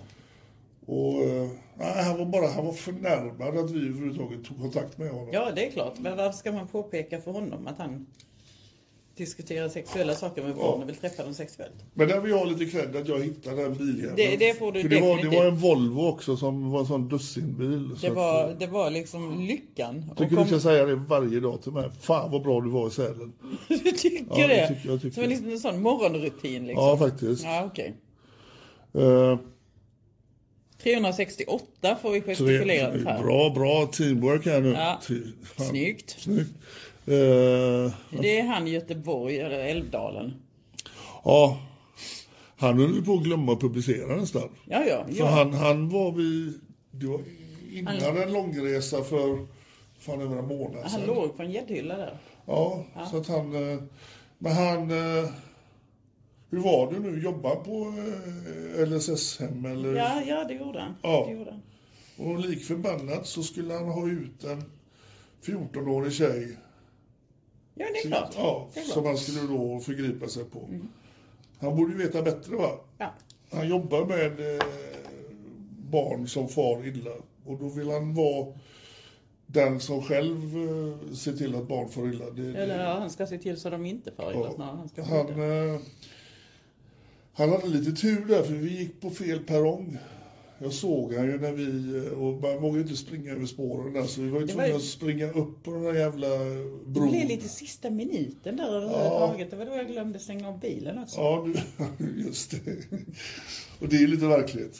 S2: Och, eh, nej, han var bara han var förnärmad att vi överhuvudtaget tog kontakt med honom.
S1: ja, det är klart. Men varför ska man påpeka för honom att han diskuterar sexuella saker med barn och vill träffa dem sexuellt?
S2: Men där vill jag ha lite cred att jag hittade den biljäveln.
S1: Det- det får du
S2: För det, var, det
S1: definitivt.
S2: var en Volvo också som var en sån dussinbil. så
S1: Det
S2: att,
S1: var,
S2: eh,
S1: det var liksom lyckan. Och
S2: Tycker
S1: kom-
S2: du ska säga det varje dag till mig. Fan vad bra du var i Sälen.
S1: Du tycker
S2: Ja,
S1: det?
S2: jag tycker- jag tycker
S1: Som en,
S2: det.
S1: liksom, en sån morgonrutin liksom?
S2: Ja, faktiskt.
S1: Ja, okej.
S2: Eh,
S1: 368 får vi gestikulera
S2: tre,
S1: för här.
S2: bra, bra teamwork här nu.
S1: Ja.
S2: Ty- fan,
S1: Snyggt.
S2: Snyggt. Eh,
S1: Det är han Göteborg, eller Älvdalen.
S2: ja, han höll ju på att glömma att publicera nästan.
S1: Ja, ja.
S2: För
S1: ja.
S2: han, han var vid... Det var innan en långresa för fan över en månad
S1: han
S2: sedan.
S1: låg på en gäddhylla där.
S2: Ja, så att han... eh, Men han... eh, Hur var det nu? Jobbar på eh, LSS-hem eller?
S1: Ja, ja, det gjorde han.
S2: Ja.
S1: Det gjorde han.
S2: Och lik förbannat så skulle han ha ut en 14-årig tjej.
S1: Ja, det är klart.
S2: Ja,
S1: det är Mm.
S2: som
S1: klart.
S2: han skulle då förgripa sig på. Han borde ju veta bättre va?
S1: Ja.
S2: Han jobbar med eh, barn som far illa och då vill han vara den som själv eh, ser till att barn far illa. Det,
S1: Eller
S2: det,
S1: ja, han ska se till så de inte far illa snarare. Han ska
S2: han,
S1: skydda.
S2: eh, han hade lite tur där för vi gick på fel perrong. Jag såg han ju när vi, eh, och man vågade ju inte springa över spåren där så vi var ju
S1: Det var
S2: tvungna
S1: ju-
S2: att springa upp på den där jävla
S1: Det
S2: bron.
S1: blev lite sista minuten där överhuvudtaget. Det var då jag glömde stänga av bilen också.
S2: Ja, du, just det. Och det är lite verkligt.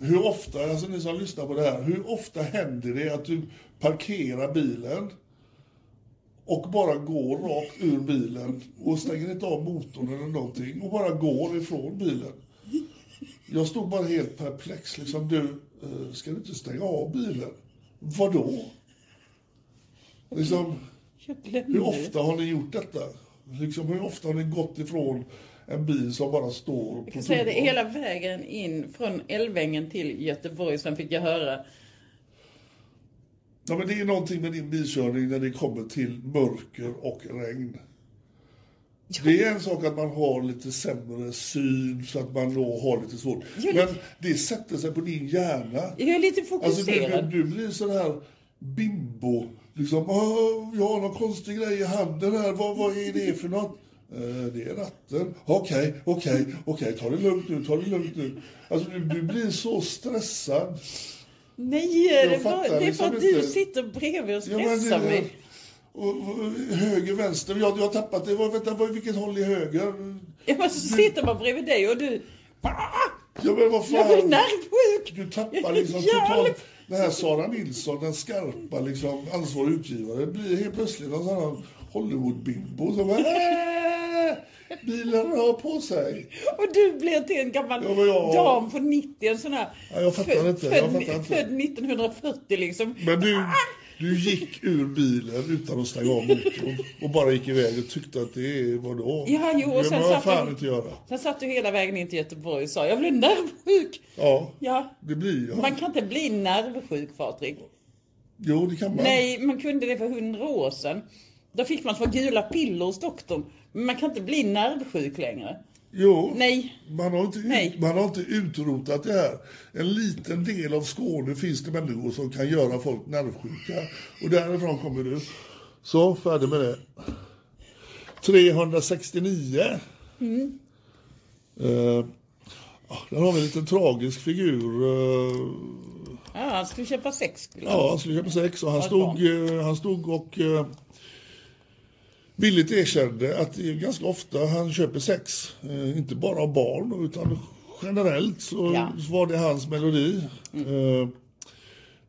S2: Hur ofta, alltså ni som lyssnar på det här, hur ofta händer det att du parkerar bilen och bara går rakt ur bilen och stänger inte av motorn eller någonting och bara går ifrån bilen? Jag stod bara helt perplex liksom. Du, eh, ska du inte stänga av bilen? Vadå? Liksom...
S1: Jag glömde
S2: Hur
S1: det.
S2: ofta har ni gjort detta? Liksom, hur ofta har ni gått ifrån en bil som bara står på
S1: Jag kan säga det
S2: tomgång?
S1: hela vägen in från Älvängen till Göteborg. Sen fick jag höra
S2: Ja, men det är någonting med din bilkörning när det kommer till mörker och regn. Det är en sak att man har lite sämre syn så att man då har lite svårt.
S1: Jo,
S2: Men det sätter sig på din hjärna.
S1: Jag är lite
S2: Alltså du,
S1: fokuserad.
S2: du, du blir sån här bimbo. Liksom, "Åh, jag har någon konstig grej i handen här. Vad, vad är det för något? "Eh, Det är ratten. Okej, okej, okej. Ta det lugnt nu, ta det lugnt nu. Alltså du, du blir så stressad.
S1: Nej, det, var,
S2: fattar
S1: det är för
S2: liksom
S1: att du
S2: inte.
S1: sitter bredvid och
S2: Ja, men
S1: stressar
S2: det-
S1: mig.
S2: Och, och, höger, vänster. Jag, jag har tappat det. Vad- Vänta, vad- vilket håll är höger?
S1: Jag bara sitter bara bredvid dig och du... Ah,
S2: Ja men vad
S1: jag blir
S2: fan.
S1: nervsjuk!
S2: Du tappar liksom
S1: Hjälp!
S2: totalt. Den här Sara Nilsson, den skarpa liksom, ansvarig utgivaren, blir helt plötsligt någon sån här Hollywood-bimbo som bara, "Äh, bilen rör på sig.
S1: Och du blir till en gammal
S2: Ja, men jag-
S1: dam på 90, en sån här...
S2: Ja, jag fattar
S1: född-
S2: inte,
S1: född-
S2: jag fattar inte.
S1: Född 1940 liksom.
S2: Men du, du gick ur bilen utan att stänga av motorn och bara gick iväg och tyckte att det var då.
S1: Ja, jo, och
S2: det
S1: sen
S2: behöver
S1: satt
S2: fan
S1: de-
S2: inte göra.
S1: Sen satt du hela vägen in till Göteborg och sa jag blir nervsjuk.
S2: Ja,
S1: Ja,
S2: det blir jag.
S1: man kan inte bli nervsjuk Patrik.
S2: Jo, det kan man.
S1: Nej, man kunde det för hundra år sedan. Då fick man två gula piller hos doktorn. Men man kan inte bli nervsjuk längre.
S2: Jo.
S1: Nej.
S2: Man har, inte, ut-
S1: Nej.
S2: man har inte utrotat det här. En liten del av Skåne finns det människor som kan göra folk nervsjuka. Och därifrån kommer du. Så, färdig med det. 369.
S1: Mm.
S2: Eh, ja, där har vi en liten tragisk figur. eh,
S1: Ja, han skulle köpa sex skulle han.
S2: ja, han skulle köpa sex och han
S1: liksom. Ja,
S2: stod, eh, han stod och eh, villigt erkände att det är ganska ofta han köper sex. Eh, inte bara av barn utan generellt så,
S1: Ja. Mm.
S2: så var det hans melodi. Eh,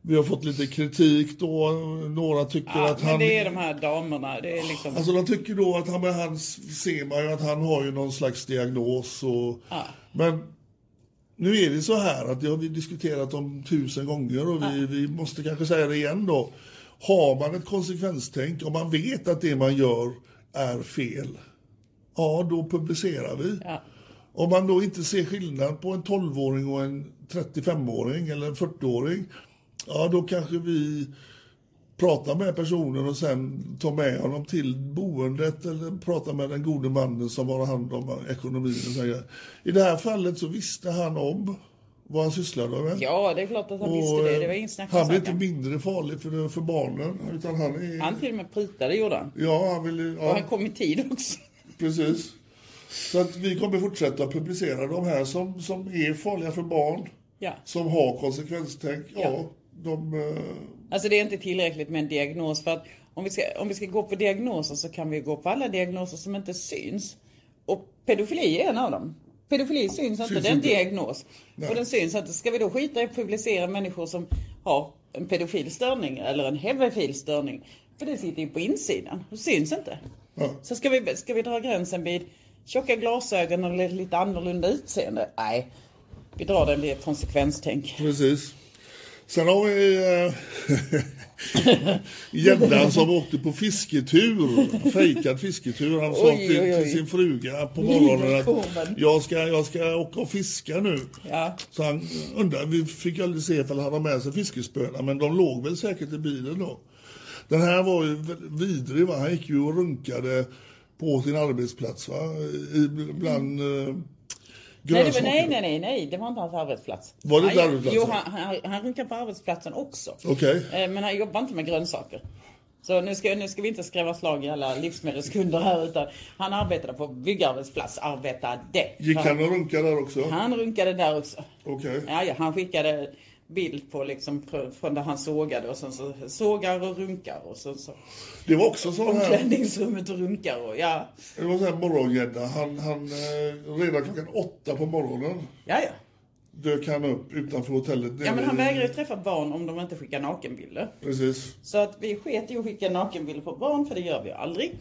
S2: vi har fått lite kritik då. Några tycker
S1: Ja,
S2: att
S1: men
S2: han...
S1: det är de här damerna. Det är liksom...
S2: Alltså de tycker då att han, men han ser man ju att han har ju någon slags diagnos och...
S1: Ja.
S2: Men nu är det så här att det har vi diskuterat om tusen gånger och vi, vi måste kanske säga det igen då. Har man ett konsekvenstänk och man vet att det man gör är fel, ja då publicerar vi.
S1: Ja.
S2: Om man då inte ser skillnad på en 12-åring och en 35-åring eller en 40-åring, ja då kanske vi pratar med personen och sen tar med honom till boendet eller pratar med den gode mannen som har hand om ekonomin. Och så här. I det här fallet så visste han om vad han sysslade med.
S1: Ja, det är klart att han
S2: Och,
S1: visste det.
S2: eh,
S1: Det var ingen snack om
S2: Han blev inte
S1: saken.
S2: mindre farlig för, för barnen, utan han är...
S1: Han till och med prutade gjorde han.
S2: Ja, han ville...
S1: Och
S2: Ja,
S1: han kom i tid också.
S2: precis. Så att vi kommer fortsätta publicera de här som, som är farliga för barn,
S1: Ja.
S2: som har konsekvenstänk. Ja,
S1: Ja.
S2: de... eh,
S1: Alltså det är inte tillräckligt med en diagnos för att om vi, ska, om vi ska gå på diagnoser så kan vi gå på alla diagnoser som inte syns. Och pedofili är en av dem. Pedofili syns inte,
S2: Syns
S1: det är en
S2: inte.
S1: diagnos. Och den syns inte. Ska vi då skita i att publicera människor som har en pedofil störning eller en hebefil störning? För det sitter ju på insidan och syns inte.
S2: Ja.
S1: Så ska vi, ska vi dra gränsen vid tjocka glasögon och lite annorlunda utseende? Nej, vi drar den vid konsekvenstänk.
S2: Precis. Sen har vi eh, gäddan som åkte på fisketur, fejkad fisketur. Han sa
S1: Oj,
S2: till,
S1: oj, oj.
S2: till sin fruga på morgonen
S1: Nykommen.
S2: att jag ska, jag ska åka och fiska nu.
S1: Ja.
S2: Så han undrar, vi fick aldrig se ifall han har med sig fiskespöna, men de låg väl säkert i bilen då. Den här var ju väldigt vidrig, va? han gick ju och runkade på sin arbetsplats, va? I, bland eh,
S1: Nej, det var,
S2: grönsaker.
S1: nej, nej, nej, nej, det var inte hans arbetsplats.
S2: Var det inte
S1: Han-
S2: arbetsplatsen?
S1: Jo, han, han, han runkade på arbetsplatsen också.
S2: Okej.
S1: Eh, Men han jobbar inte med grönsaker. Så nu ska, nu ska vi inte skräva slag i alla livsmedelskunder här utan han arbetade på byggarbetsplats, arbetade.
S2: Gick han och runkade där också?
S1: Han runkade där också.
S2: Okej.
S1: Ja, ja, han skickade bild på liksom fr- från där han sågade och sen så sågar och runkar och sen så
S2: Det var också så här.
S1: omklädningsrummet och runkar och ja,
S2: Det var så här morgongädda. Han, han, eh, redan klockan åtta på morgonen
S1: ja, ja.
S2: dök han upp utanför hotellet.
S1: Ja men han
S2: nere i-
S1: vägrar ju träffa barn om de inte skickar nakenbilder.
S2: Precis.
S1: Så att vi sket i att skicka nakenbilder på barn, för det gör vi aldrig.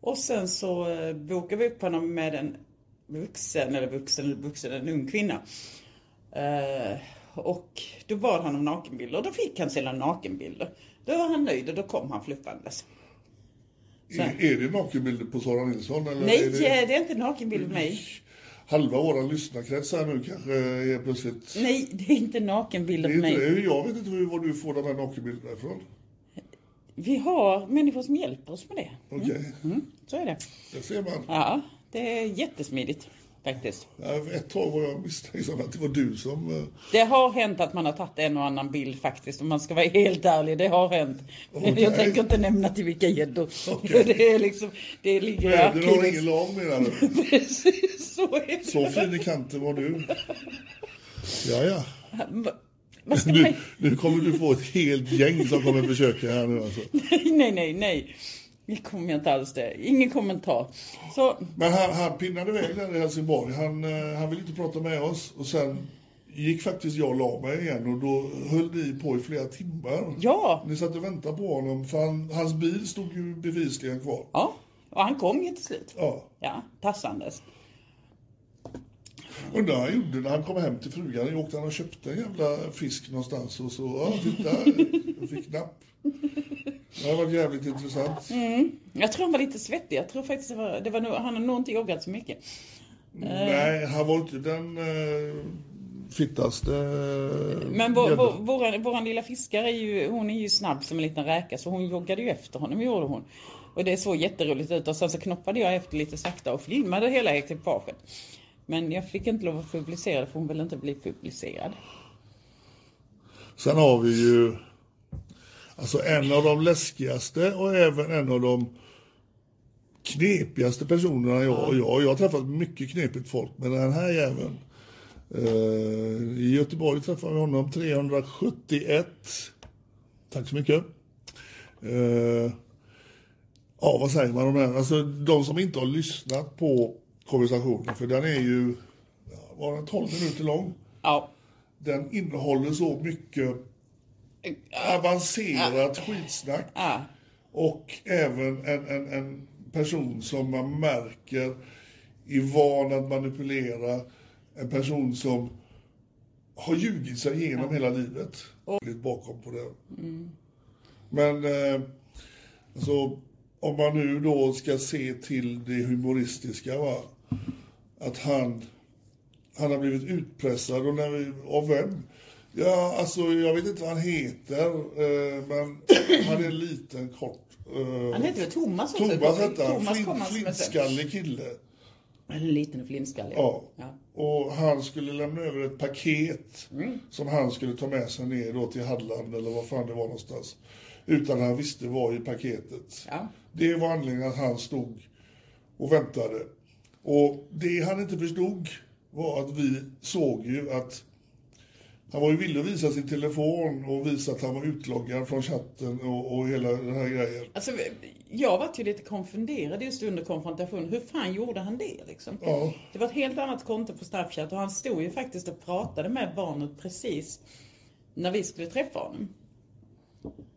S1: Och sen så eh, bokade vi upp honom med en vuxen, eller vuxen, vuxen, en ung kvinna. Eh, och då bad han om nakenbilder och då fick han sina nakenbilder. Då var han nöjd och då kom han fluppandes. Så-
S2: Är, är det nakenbilder på Sara Nilsson? Eller
S1: Nej,
S2: är
S1: eh,
S2: det
S1: det är inte en nakenbild på mig.
S2: halva våran lyssnarkrets här nu kanske är plötsligt...
S1: Nej, det är inte nakenbilder
S2: Det
S1: på
S2: är inte,
S1: mig.
S2: det. jag vet inte hur- var du får de här nakenbilderna ifrån.
S1: Vi har människor som hjälper oss med det.
S2: Okej,
S1: Mm, så är det.
S2: där ser man.
S1: Ja, det är jättesmidigt faktiskt.
S2: Ja, för Ett tag var jag misstänksam att det var du som... eh,
S1: Det har hänt att man har tagit en och annan bild faktiskt om man ska vara helt ärlig. Det har hänt. Men
S2: Okej.
S1: jag tänker inte nämna till vilka gäddor.
S2: Okej.
S1: Det är liksom, det ligger i
S2: Väder har ingen
S1: arkivets...
S2: lam menar du?
S1: Precis, så är det.
S2: Så fin i kanten var du. Ja, ja.
S1: Va- Vad ska man...
S2: Nu, nu kommer du få ett helt gäng som kommer försöka här nu alltså.
S1: Nej, nej, nej, nej. Det kommer jag inte alls det. Ingen kommentar. Så,
S2: Men han, han pinnade iväg där i Helsingborg. Han, eh, han ville inte prata med oss. Och sen gick faktiskt jag och la mig igen och då höll ni på i flera timmar.
S1: ja.
S2: Ni satt och väntade på honom för han, hans bil stod ju bevisligen kvar.
S1: Ja, och han kom ju till slut.
S2: Ja.
S1: Ja, tassandes.
S2: Undrar vad han gjorde när han kom hem till frugan. Åkte han och köpte en jävla fisk någonstans och så, ja titta, jag fick napp. Det har varit jävligt intressant.
S1: Jag tror han var lite svettig. Jag tror faktiskt det var, det var nog, han har nog inte joggat så mycket.
S2: Nej, han var inte den eh, fittaste. eh,
S1: Men vår, vår,
S2: gäddan.
S1: våran, våran lilla fiskare är ju, hon är ju snabb som en liten räka så hon joggade ju efter honom gjorde hon. Och det såg jätteroligt ut och sen så knoppade jag efter lite sakta och filmade hela ekipaget. Men jag fick inte lov att publicera det för hon ville inte bli publicerad.
S2: Sen har vi ju alltså en av de läskigaste och även en av de knepigaste personerna jag och jag. Jag har träffat mycket knepigt folk, men den här jäveln. Eh, I Göteborg träffade vi honom 371. Tack så mycket. Eh, ja, vad säger man om den? Alltså de som inte har lyssnat på konversationen, för den är ju, ja, var den 12 minuter lång?
S1: Ja,
S2: den innehåller så mycket avancerat skitsnack. Och även en, en, en person som man märker är van att manipulera. En person som har ljugit sig igenom hela livet. Lite bakom på det.
S1: Mm.
S2: Men eh, alltså, om man nu då ska se till det humoristiska va. Att han han har blivit utpressad och när vi, av vem? Ja, alltså jag vet inte vad han heter, eh, men han är en liten kort. eh,
S1: han heter väl Thomas också?
S2: Thomas hette han,
S1: Thomas
S2: Flin-
S1: kom hans
S2: flintskallig kille.
S1: En liten flintskallig.
S2: Ja.
S1: Ja.
S2: Och han skulle lämna över ett paket
S1: Mm.
S2: som han skulle ta med sig ner då till Halland eller vad fan det var någonstans. Utan han visste vad i paketet.
S1: Ja.
S2: Det var anledningen att han stod och väntade. Och det han inte förstod var att vi såg ju att han var ju villig att visa sin telefon och visa att han var utloggad från chatten och, och hela den här grejen.
S1: Alltså, jag var ju lite konfunderad just under konfrontationen. Hur fan gjorde han det liksom?
S2: Ja.
S1: Det var ett helt annat konto på Snapchat och han stod ju faktiskt och pratade med barnet precis när vi skulle träffa honom.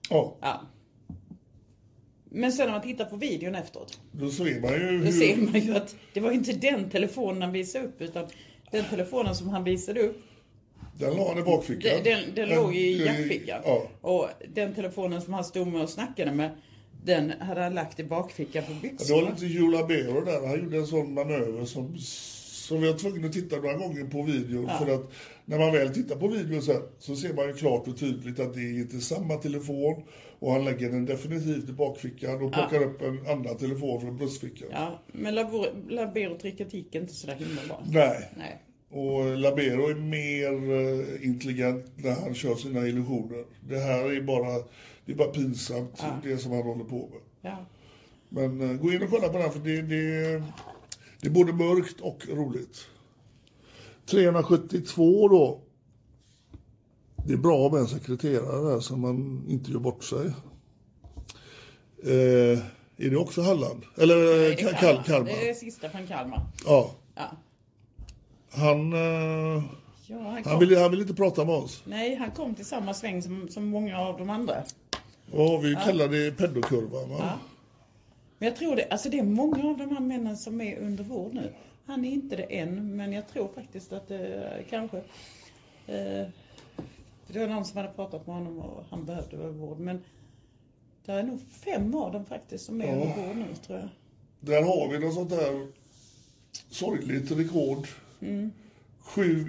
S2: Ja,
S1: Ja. Men sen när man tittar på videon efteråt,
S2: då ser man ju
S1: då
S2: hur...
S1: ser man ju att det var ju inte den telefonen han visade upp utan den telefonen som han visade upp,
S2: Den la han i bakfickan.
S1: den, den, den låg ju i jackfickan.
S2: Ja.
S1: Och den telefonen som han stod med och snackade med, den hade han lagt i bakfickan på
S2: Ja, Det var
S1: byxorna.
S2: lite Julabero där. Han gjorde en sån manöver som, som vi var tvungna att titta några gånger på videon. För att när man väl tittar på videon sen, så ser man ju klart och tydligt att det är inte samma telefon. Och han lägger den definitivt i bakfickan och plockar upp en annan telefon från bröstfickan.
S1: Ja, men labor- laberotricket gick inte sådär himla bra.
S2: Nej.
S1: Nej.
S2: Och Labero är mer eh, intelligent när han kör sina illusioner. Det här är bara, det är bara pinsamt, det som han håller på med.
S1: Ja.
S2: Men eh, gå in och kolla på den, för det, det, det är både mörkt och roligt. 372 då. Det är bra med en sekreterare där, så man inte gör bort sig. Eh, är det också Halland? Eller eh,
S1: Det är
S2: Ka- Kal-
S1: Det är
S2: Kalmar?
S1: sista från Kalmar.
S2: Ja.
S1: Ja.
S2: Han, eh,
S1: Ja, han
S2: han,
S1: kom.
S2: vill, han vill inte prata med oss.
S1: Nej, han kom till samma sväng som, som många av de andra.
S2: Ja, vi kallar det peddokurvan. va?
S1: Men jag tror det, alltså det är många av de här männen som är under vård nu. Han är inte det än, men jag tror faktiskt att det kanske... Eh, för det var någon som hade pratat med honom och han behövde väl vård, men det är nog fem av dem faktiskt som är under vård nu, tror jag.
S2: Där har vi något sånt där sorgligt rekord. Sju... in-
S1: Mm.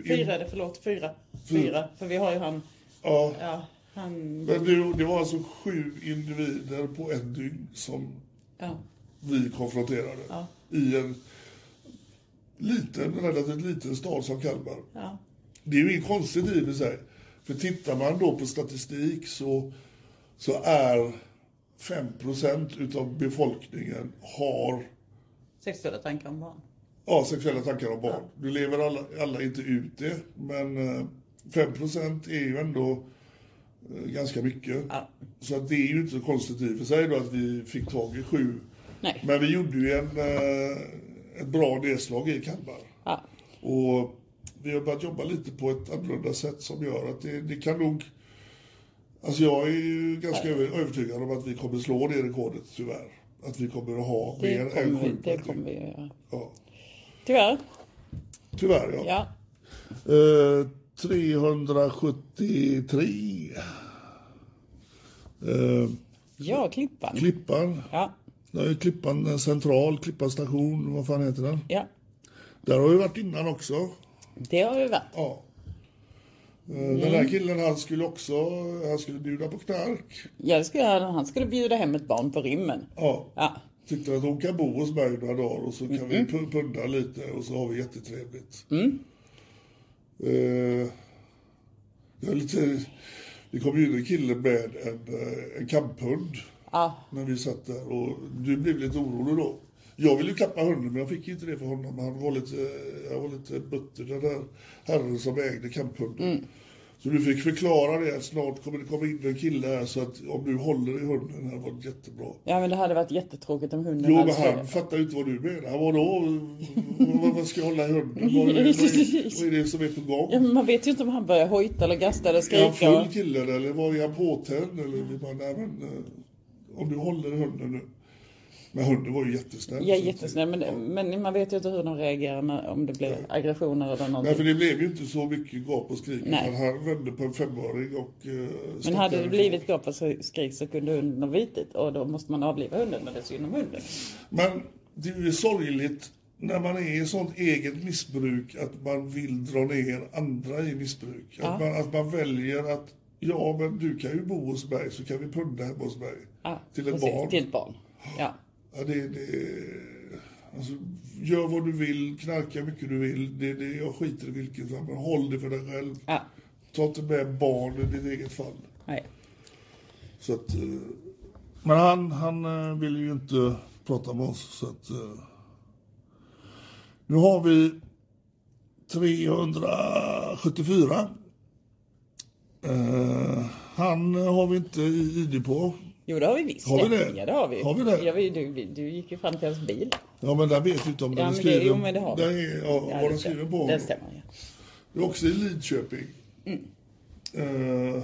S1: Fyra är det, förlåt, fyra. Fyra, för vi har ju han...
S2: Ja.
S1: Ja, han...
S2: Men det, det var alltså sju individer på ett dygn som
S1: Ja,
S2: vi konfronterade. I en liten, relativt liten stad som Kalmar.
S1: ja.
S2: Det är ju inget konstigt i och för sig. För tittar man då på statistik så, så är 5% utav befolkningen har
S1: Sexuella tankar om barn.
S2: Ja, sexuella tankar om barn. Nu lever alla, alla inte ut det, men eh, 5% är ju ändå eh, ganska mycket.
S1: Ja.
S2: Så att det är ju inte så konstigt i och för sig då att vi fick tag i sju.
S1: Nej.
S2: Men vi gjorde ju en, eh, ett bra nedslag i Kalmar.
S1: Ja.
S2: Och vi har börjat jobba lite på ett annorlunda sätt som gör att det, det kan nog... Alltså jag är ju ganska över- övertygad om att vi kommer slå det rekordet, tyvärr. Att vi kommer att ha mer
S1: Det
S2: än
S1: kommer, vi,
S2: sju.
S1: det
S2: platser.
S1: kommer vi att göra.
S2: ja.
S1: Tyvärr.
S2: Tyvärr
S1: Ja.
S2: Eh, 373. Eh,
S1: Ja, Klippan.
S2: Klippan.
S1: Ja,
S2: Det är ju Klippan eh, central, Klippan station, vad fan heter den?
S1: ja.
S2: Där har vi varit innan också.
S1: Det har vi varit.
S2: Ja. Eh, Den där killen han skulle också, han skulle bjuda på knark.
S1: Jag skulle, han skulle bjuda hem ett barn på rymmen.
S2: Ja.
S1: Ja,
S2: Tyckte att hon kan bo hos mig några dagar och så kan vi pu- punda lite och så har vi jättetrevligt. Eh, jag är lite, det kom ju in en kille med en, eh, en kamphund
S1: ja,
S2: när vi satt där och du blev lite orolig då. Jag ville ju klappa hunden men jag fick ju inte det för honom. Han var lite, jag var lite butter den där herren som ägde kamphunden. Så du fick förklara det att snart kommer det komma in en kille här så att om du håller i hunden här var det jättebra.
S1: ja men det hade varit jättetråkigt om hunden
S2: Jo,
S1: hade
S2: men han
S1: sovit.
S2: fattar ju inte vad du menar. Vadå? Vad- Vad ska jag hålla i hunden? Vad är, vad, är, vad är det som är på
S1: Ja,
S2: gång?
S1: men man vet ju inte om han börjar hojta eller gasta eller
S2: Är han
S1: skrika.
S2: full killen eller var är han påtänd? Eller vi bara, nej, men, eh, om du håller i hunden nu. Men hunden var ju jättesnäll.
S1: Jag är
S2: så
S1: jättesnäll,
S2: att-
S1: men, men man vet ju inte hur de reagerar när, om det blir aggressioner eller
S2: Nej, för
S1: någonting.
S2: det blev ju inte så mycket gap och skrik.
S1: Nej.
S2: utan Han vände på en femöring och... eh,
S1: Men
S2: stack
S1: hade det
S2: därifrån.
S1: blivit gap och skrik så kunde hunden ha bitit och då måste man avliva hunden och det är synd om hunden.
S2: Men det är ju sorgligt när man är i sånt eget missbruk att man vill dra ner andra i missbruk. Att, man, att man väljer att ja, men du kan ju bo hos mig så kan vi punda hemma hos mig.
S1: Ja,
S2: till ett
S1: precis,
S2: barn.
S1: Till ett barn. Ja.
S2: Ja, det, det, alltså, gör vad du vill, knarka hur mycket du vill. Det, det, jag skiter i vilket, va, men håll det för dig själv.
S1: ja.
S2: Ta inte med barn i ditt eget fall.
S1: Nej.
S2: Så att, eh, men han, han eh, ville ju inte prata med oss. Så att, eh, nu har vi 374. Eh, han har vi inte i ID på.
S1: Jo, det har vi visst.
S2: Har vi det?
S1: Ja, det har vi.
S2: Har vi det?
S1: Ja, vi du, vi- du gick ju fram till hans bil.
S2: Ja, men där vet vi inte om
S1: Ja,
S2: den är
S1: men det-
S2: skriven.
S1: jo, men det har vi.
S2: den är, ja,
S1: Ja,
S2: vad
S1: det stämmer.
S2: den skriven på.
S1: Det stämmer, Mm. ja.
S2: Det är också i Lidköping. Eh,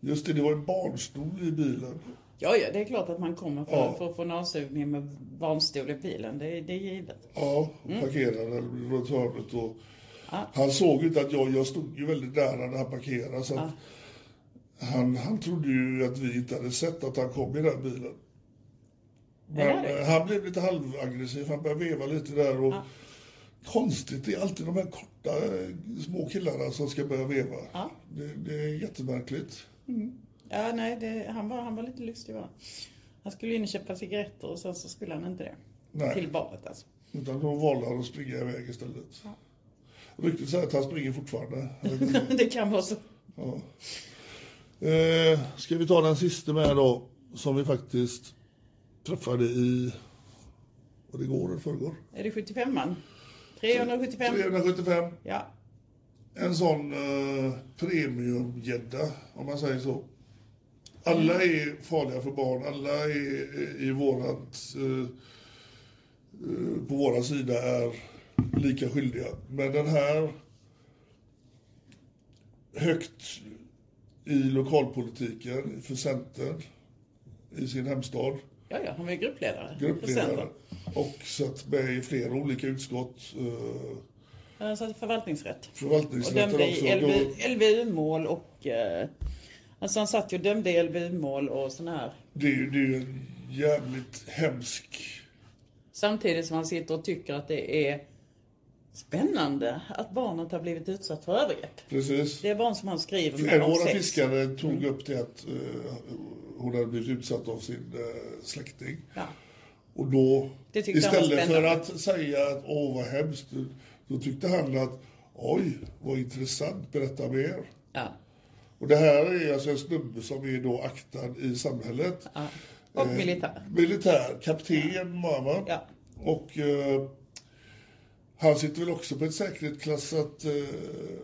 S2: just det, det var en barnstol i bilen.
S1: Ja, ja, det är klart att man kommer för,
S2: Ja.
S1: för att få en avsugning med barnstol i bilen. Det, är- det är givet.
S2: Ja,
S1: Mm.
S2: parkerade runt hörnet. Och Han såg ju inte att jag, jag stod ju väldigt nära när han parkerade. Så att han, han trodde ju att vi inte hade sett att han kom i den bilen.
S1: det
S2: Men
S1: hade
S2: eh, han blev lite halvaggressiv, han började veva lite där. Och Konstigt, det är alltid de här korta eh, små killarna som ska börja veva. Det, det är jättemärkligt.
S1: Ja, nej, det, han, var, han var lite lustig va? Han skulle in och köpa cigaretter och sen så skulle han inte det.
S2: Nej.
S1: Till baret alltså.
S2: Utan de valde att springa iväg istället. Ryktet säger att han springer fortfarande. Jag vet inte.
S1: Det kan vara så.
S2: Eh, ska vi ta den sista med då, som vi faktiskt träffade i, var det igår eller förrgår?
S1: Är det 75 man? 375?
S2: 375.
S1: Ja.
S2: En sån eh, premiumgädda, om man säger så. Alla
S1: Mm.
S2: är farliga för barn, alla är eh, i vårat, eh, eh, på våra sida är lika skyldiga. Men den här högt i lokalpolitiken för Centern i sin hemstad
S1: Ja, ja, han var ju gruppledare. För
S2: gruppledare
S1: Centern.
S2: och satt med i flera olika utskott. eh,
S1: Han satt i förvaltningsrätt. Och
S2: Förvaltningsrätten
S1: dömde
S2: också.
S1: i
S2: Då-
S1: LV LVU-mål och... Eh, alltså han satt ju och dömde i LVU-mål och sådana här.
S2: Det är ju det är ju en jävligt hemsk...
S1: Samtidigt som han sitter och tycker att det är spännande att barnet har blivit utsatt för övergrepp.
S2: Precis.
S1: Det är barn som han skriver
S2: En
S1: med
S2: av
S1: om
S2: våra
S1: sex. Mm.
S2: fiskare tog upp det att eh, hon hade blivit utsatt av sin eh, släkting.
S1: Ja.
S2: Och då,
S1: Det tyckte han var
S2: istället för
S1: spännande.
S2: att säga att åh vad hemskt, då tyckte han att oj vad intressant, berätta mer.
S1: Ja.
S2: Och det här är alltså en snubbe som är då aktad i samhället.
S1: ja. Och
S2: Eh.
S1: militär.
S2: Militär, kapten var han va?
S1: Ja.
S2: Och eh, han sitter väl också på ett säkerhetsklassat eh,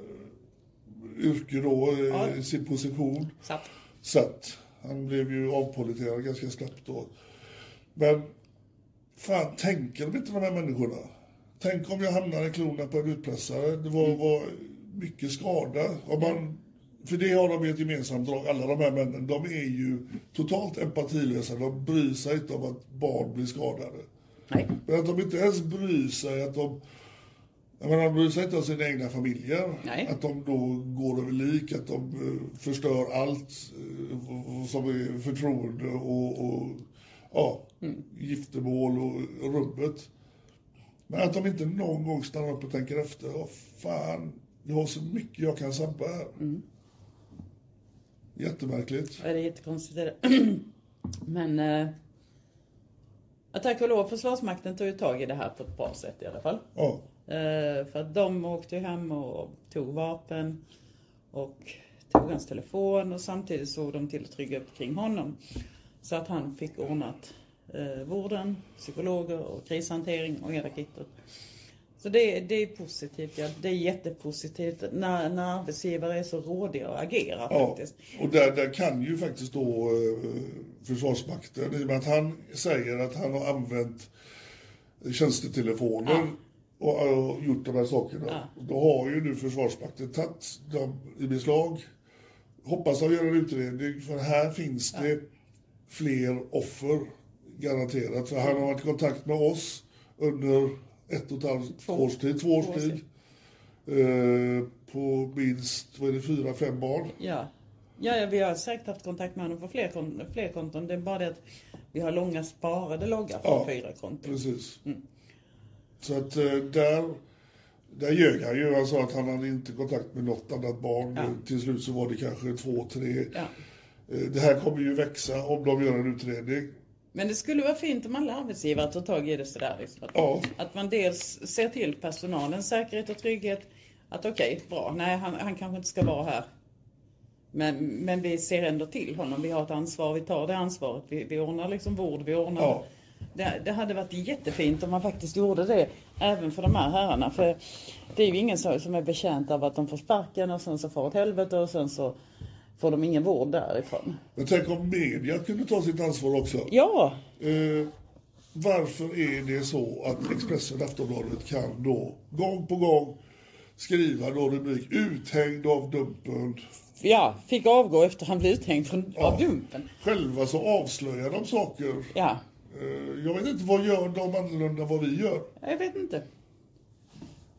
S2: yrke då, eh,
S1: Ja.
S2: i sin position.
S1: Så att,
S2: Så att han blev ju avpoliterad ganska snabbt då. Men fan, tänker de inte de här människorna? Tänk om jag hamnar i klorna på en utpressare. Det var, var mycket skada. Om man, för det har de ju ett gemensamt drag, alla de här männen. De är ju totalt empatilösa. De bryr sig inte om att barn blir skadade.
S1: nej.
S2: Men att de inte ens bryr sig att de... Jag menar, de bryr sig inte om sina egna familjer.
S1: Nej.
S2: Att de då går över lik, att de eh, förstör allt eh, v- v- som är förtroende och, och ja,
S1: Mm.
S2: giftermål och rubbet. Men att de inte någon gång stannar upp och tänker efter. Åh fan, jag har så mycket jag kan sabba här. Jättemärkligt.
S1: Mm. Ja, Det är jättekonstigt. det Är det. Men... Eh, tack och lov, Försvarsmakten tog ju tag i det här på ett bra sätt i alla fall.
S2: Ja,
S1: Eh, för att de åkte ju hem och tog vapen och tog hans telefon och samtidigt såg de till att trygga upp kring honom. Så att han fick ordnat eh, vården, psykologer och krishantering och hela kittet. Så det, det är positivt, ja. det är jättepositivt när, när arbetsgivare är så rådiga och agerar
S2: Ja,
S1: faktiskt.
S2: och där, där kan ju faktiskt då eh, Försvarsmakten, i och med att han säger att han har använt tjänstetelefoner och, och gjort de här sakerna. Då har ju nu Försvarsmakten tagit dem i beslag. Hoppas de gör en utredning, för här finns det fler offer garanterat. För han har varit i kontakt med oss under ett och ett halvt
S1: Två.
S2: års tid, två
S1: Två
S2: års
S1: års
S2: tid. Eh, på minst, vad är det, fyra, fem barn.
S1: Ja. Ja, ja, vi har säkert haft kontakt med honom på fler, kon- fler konton. Det är bara det att vi har långa sparade loggar på
S2: Ja,
S1: fyra konton.
S2: Precis.
S1: Mm.
S2: Så att eh, där, där ljög han ju. Han sa att han hade inte kontakt med något annat barn.
S1: Ja.
S2: Eh, Till slut så var det kanske två, tre.
S1: Ja.
S2: Eh, Det här kommer ju växa om de gör en utredning.
S1: Men det skulle vara fint om alla arbetsgivare tog tag i det sådär. Liksom. Att,
S2: Ja.
S1: att man dels ser till personalens säkerhet och trygghet. Att okej, bra, nej han, han kanske inte ska vara här. Men, men vi ser ändå till honom. Vi har ett ansvar, vi tar det ansvaret. Vi, vi ordnar liksom vård, vi ordnar...
S2: Ja.
S1: Det, det hade varit jättefint om man faktiskt gjorde det även för de här herrarna. För det är ju ingen så- som är betjänt av att de får sparken och sen så får åt helvete och sen så får de ingen vård därifrån.
S2: Men tänk om media kunde ta sitt ansvar också.
S1: Ja,
S2: Eh, varför är det så att Expressen och Aftonbladet kan då gång på gång skriva då rubrik uthängd av Dumpen.
S1: Ja, fick avgå efter han blev uthängd från,
S2: Ja.
S1: av Dumpen.
S2: Själva så avslöjar de saker.
S1: Ja,
S2: Eh, Jag vet inte, vad gör de annorlunda än vad vi gör?
S1: jag vet inte.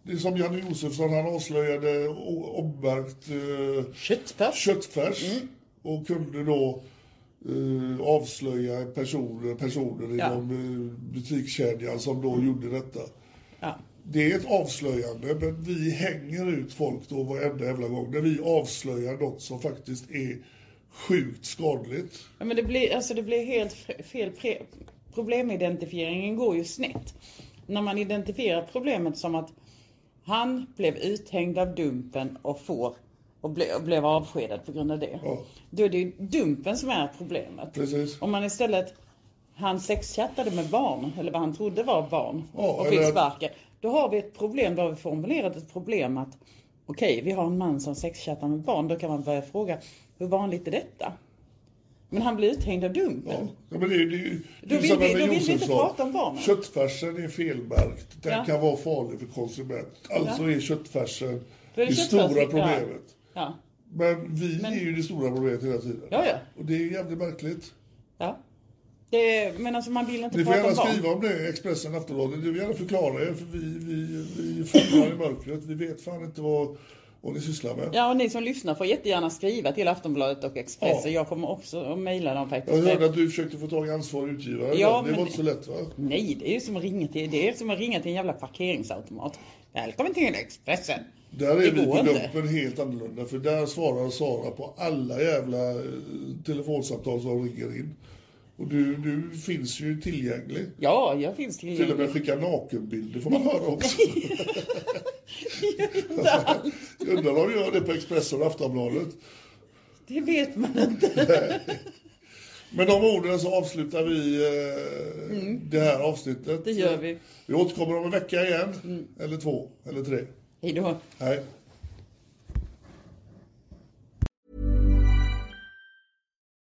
S2: Det är som Janne Josefsson, han avslöjade o- ommärkt eh,
S1: Köttfärs.
S2: köttfärs och kunde då eh, avslöja personer, personer
S1: Ja.
S2: inom eh, butikskedjan som då gjorde detta.
S1: Ja.
S2: Det är ett avslöjande, men vi hänger ut folk då varenda jävla gång när vi avslöjar något som faktiskt är sjukt skadligt.
S1: ja, men det blir, alltså det blir helt fr- fel. Pre- problemidentifieringen går ju snett. När man identifierar problemet som att Han blev uthängd av Dumpen och får och, ble, och blev avskedad på grund av det.
S2: Ja.
S1: Då är det ju Dumpen som är problemet.
S2: Precis.
S1: Om man istället, han sexchattade med barn, eller vad han trodde var barn,
S2: Ja,
S1: och fick
S2: eller-
S1: sparken. Då har vi ett problem, då har vi formulerat ett problem att okej, vi har en man som sexchattar med barn, då kan man börja fråga hur vanligt är detta? Men han blir uthängd av Dumpen.
S2: Ja, ja, men det, det, det,
S1: Då vill vi- då vill vi inte prata om barnen.
S2: Köttfärsen är felmärkt. Den
S1: Ja.
S2: kan vara farlig för konsument. Alltså är köttfärsen
S1: Då
S2: det,
S1: är det
S2: stora
S1: köttfärsen, ja.
S2: problemet.
S1: Ja,
S2: Men vi är ju det stora problemet hela tiden.
S1: ja, ja.
S2: Och det är jävligt märkligt.
S1: ja. Det, men alltså man vill inte
S2: Ni får
S1: prata om
S2: gärna
S1: barn.
S2: skriva om det, Expressen, Aftonbladet. Ni får gärna förklara er, för vi, vi, vi fångar i mörkret. Vi vet fan inte vad, vad ni sysslar med.
S1: Ja, och ni som lyssnar får jättegärna skriva till Aftonbladet och Expressen.
S2: Ja.
S1: Jag kommer också att mejla dem faktiskt.
S2: Jag hörde att du försökte få tag i ansvarig utgivare.
S1: Ja,
S2: Ja, det
S1: men-
S2: var inte så lätt va?
S1: Nej, det är ju som att ringa till, det är som att ringa till en jävla parkeringsautomat. Välkommen till Expressen.
S2: Där
S1: Det
S2: är vi
S1: går
S2: på
S1: inte.
S2: Dumpen helt annorlunda. För där svarar Sara på alla jävla eh, telefonsamtal som ringer in. Och du, du finns ju tillgänglig.
S1: Ja, jag finns
S2: Till och
S1: tillgänglig.
S2: med skicka nakenbilder får man höra också.
S1: Inte alls.
S2: Jag undrar om de gör det på Expressen och Aftonbladet.
S1: Det vet man inte.
S2: Med de orden så avslutar vi eh, det här avsnittet.
S1: Mm. Det gör vi. Mm.
S2: Vi återkommer om en vecka igen. Eller två, eller tre.
S1: Hej då.
S2: Hej.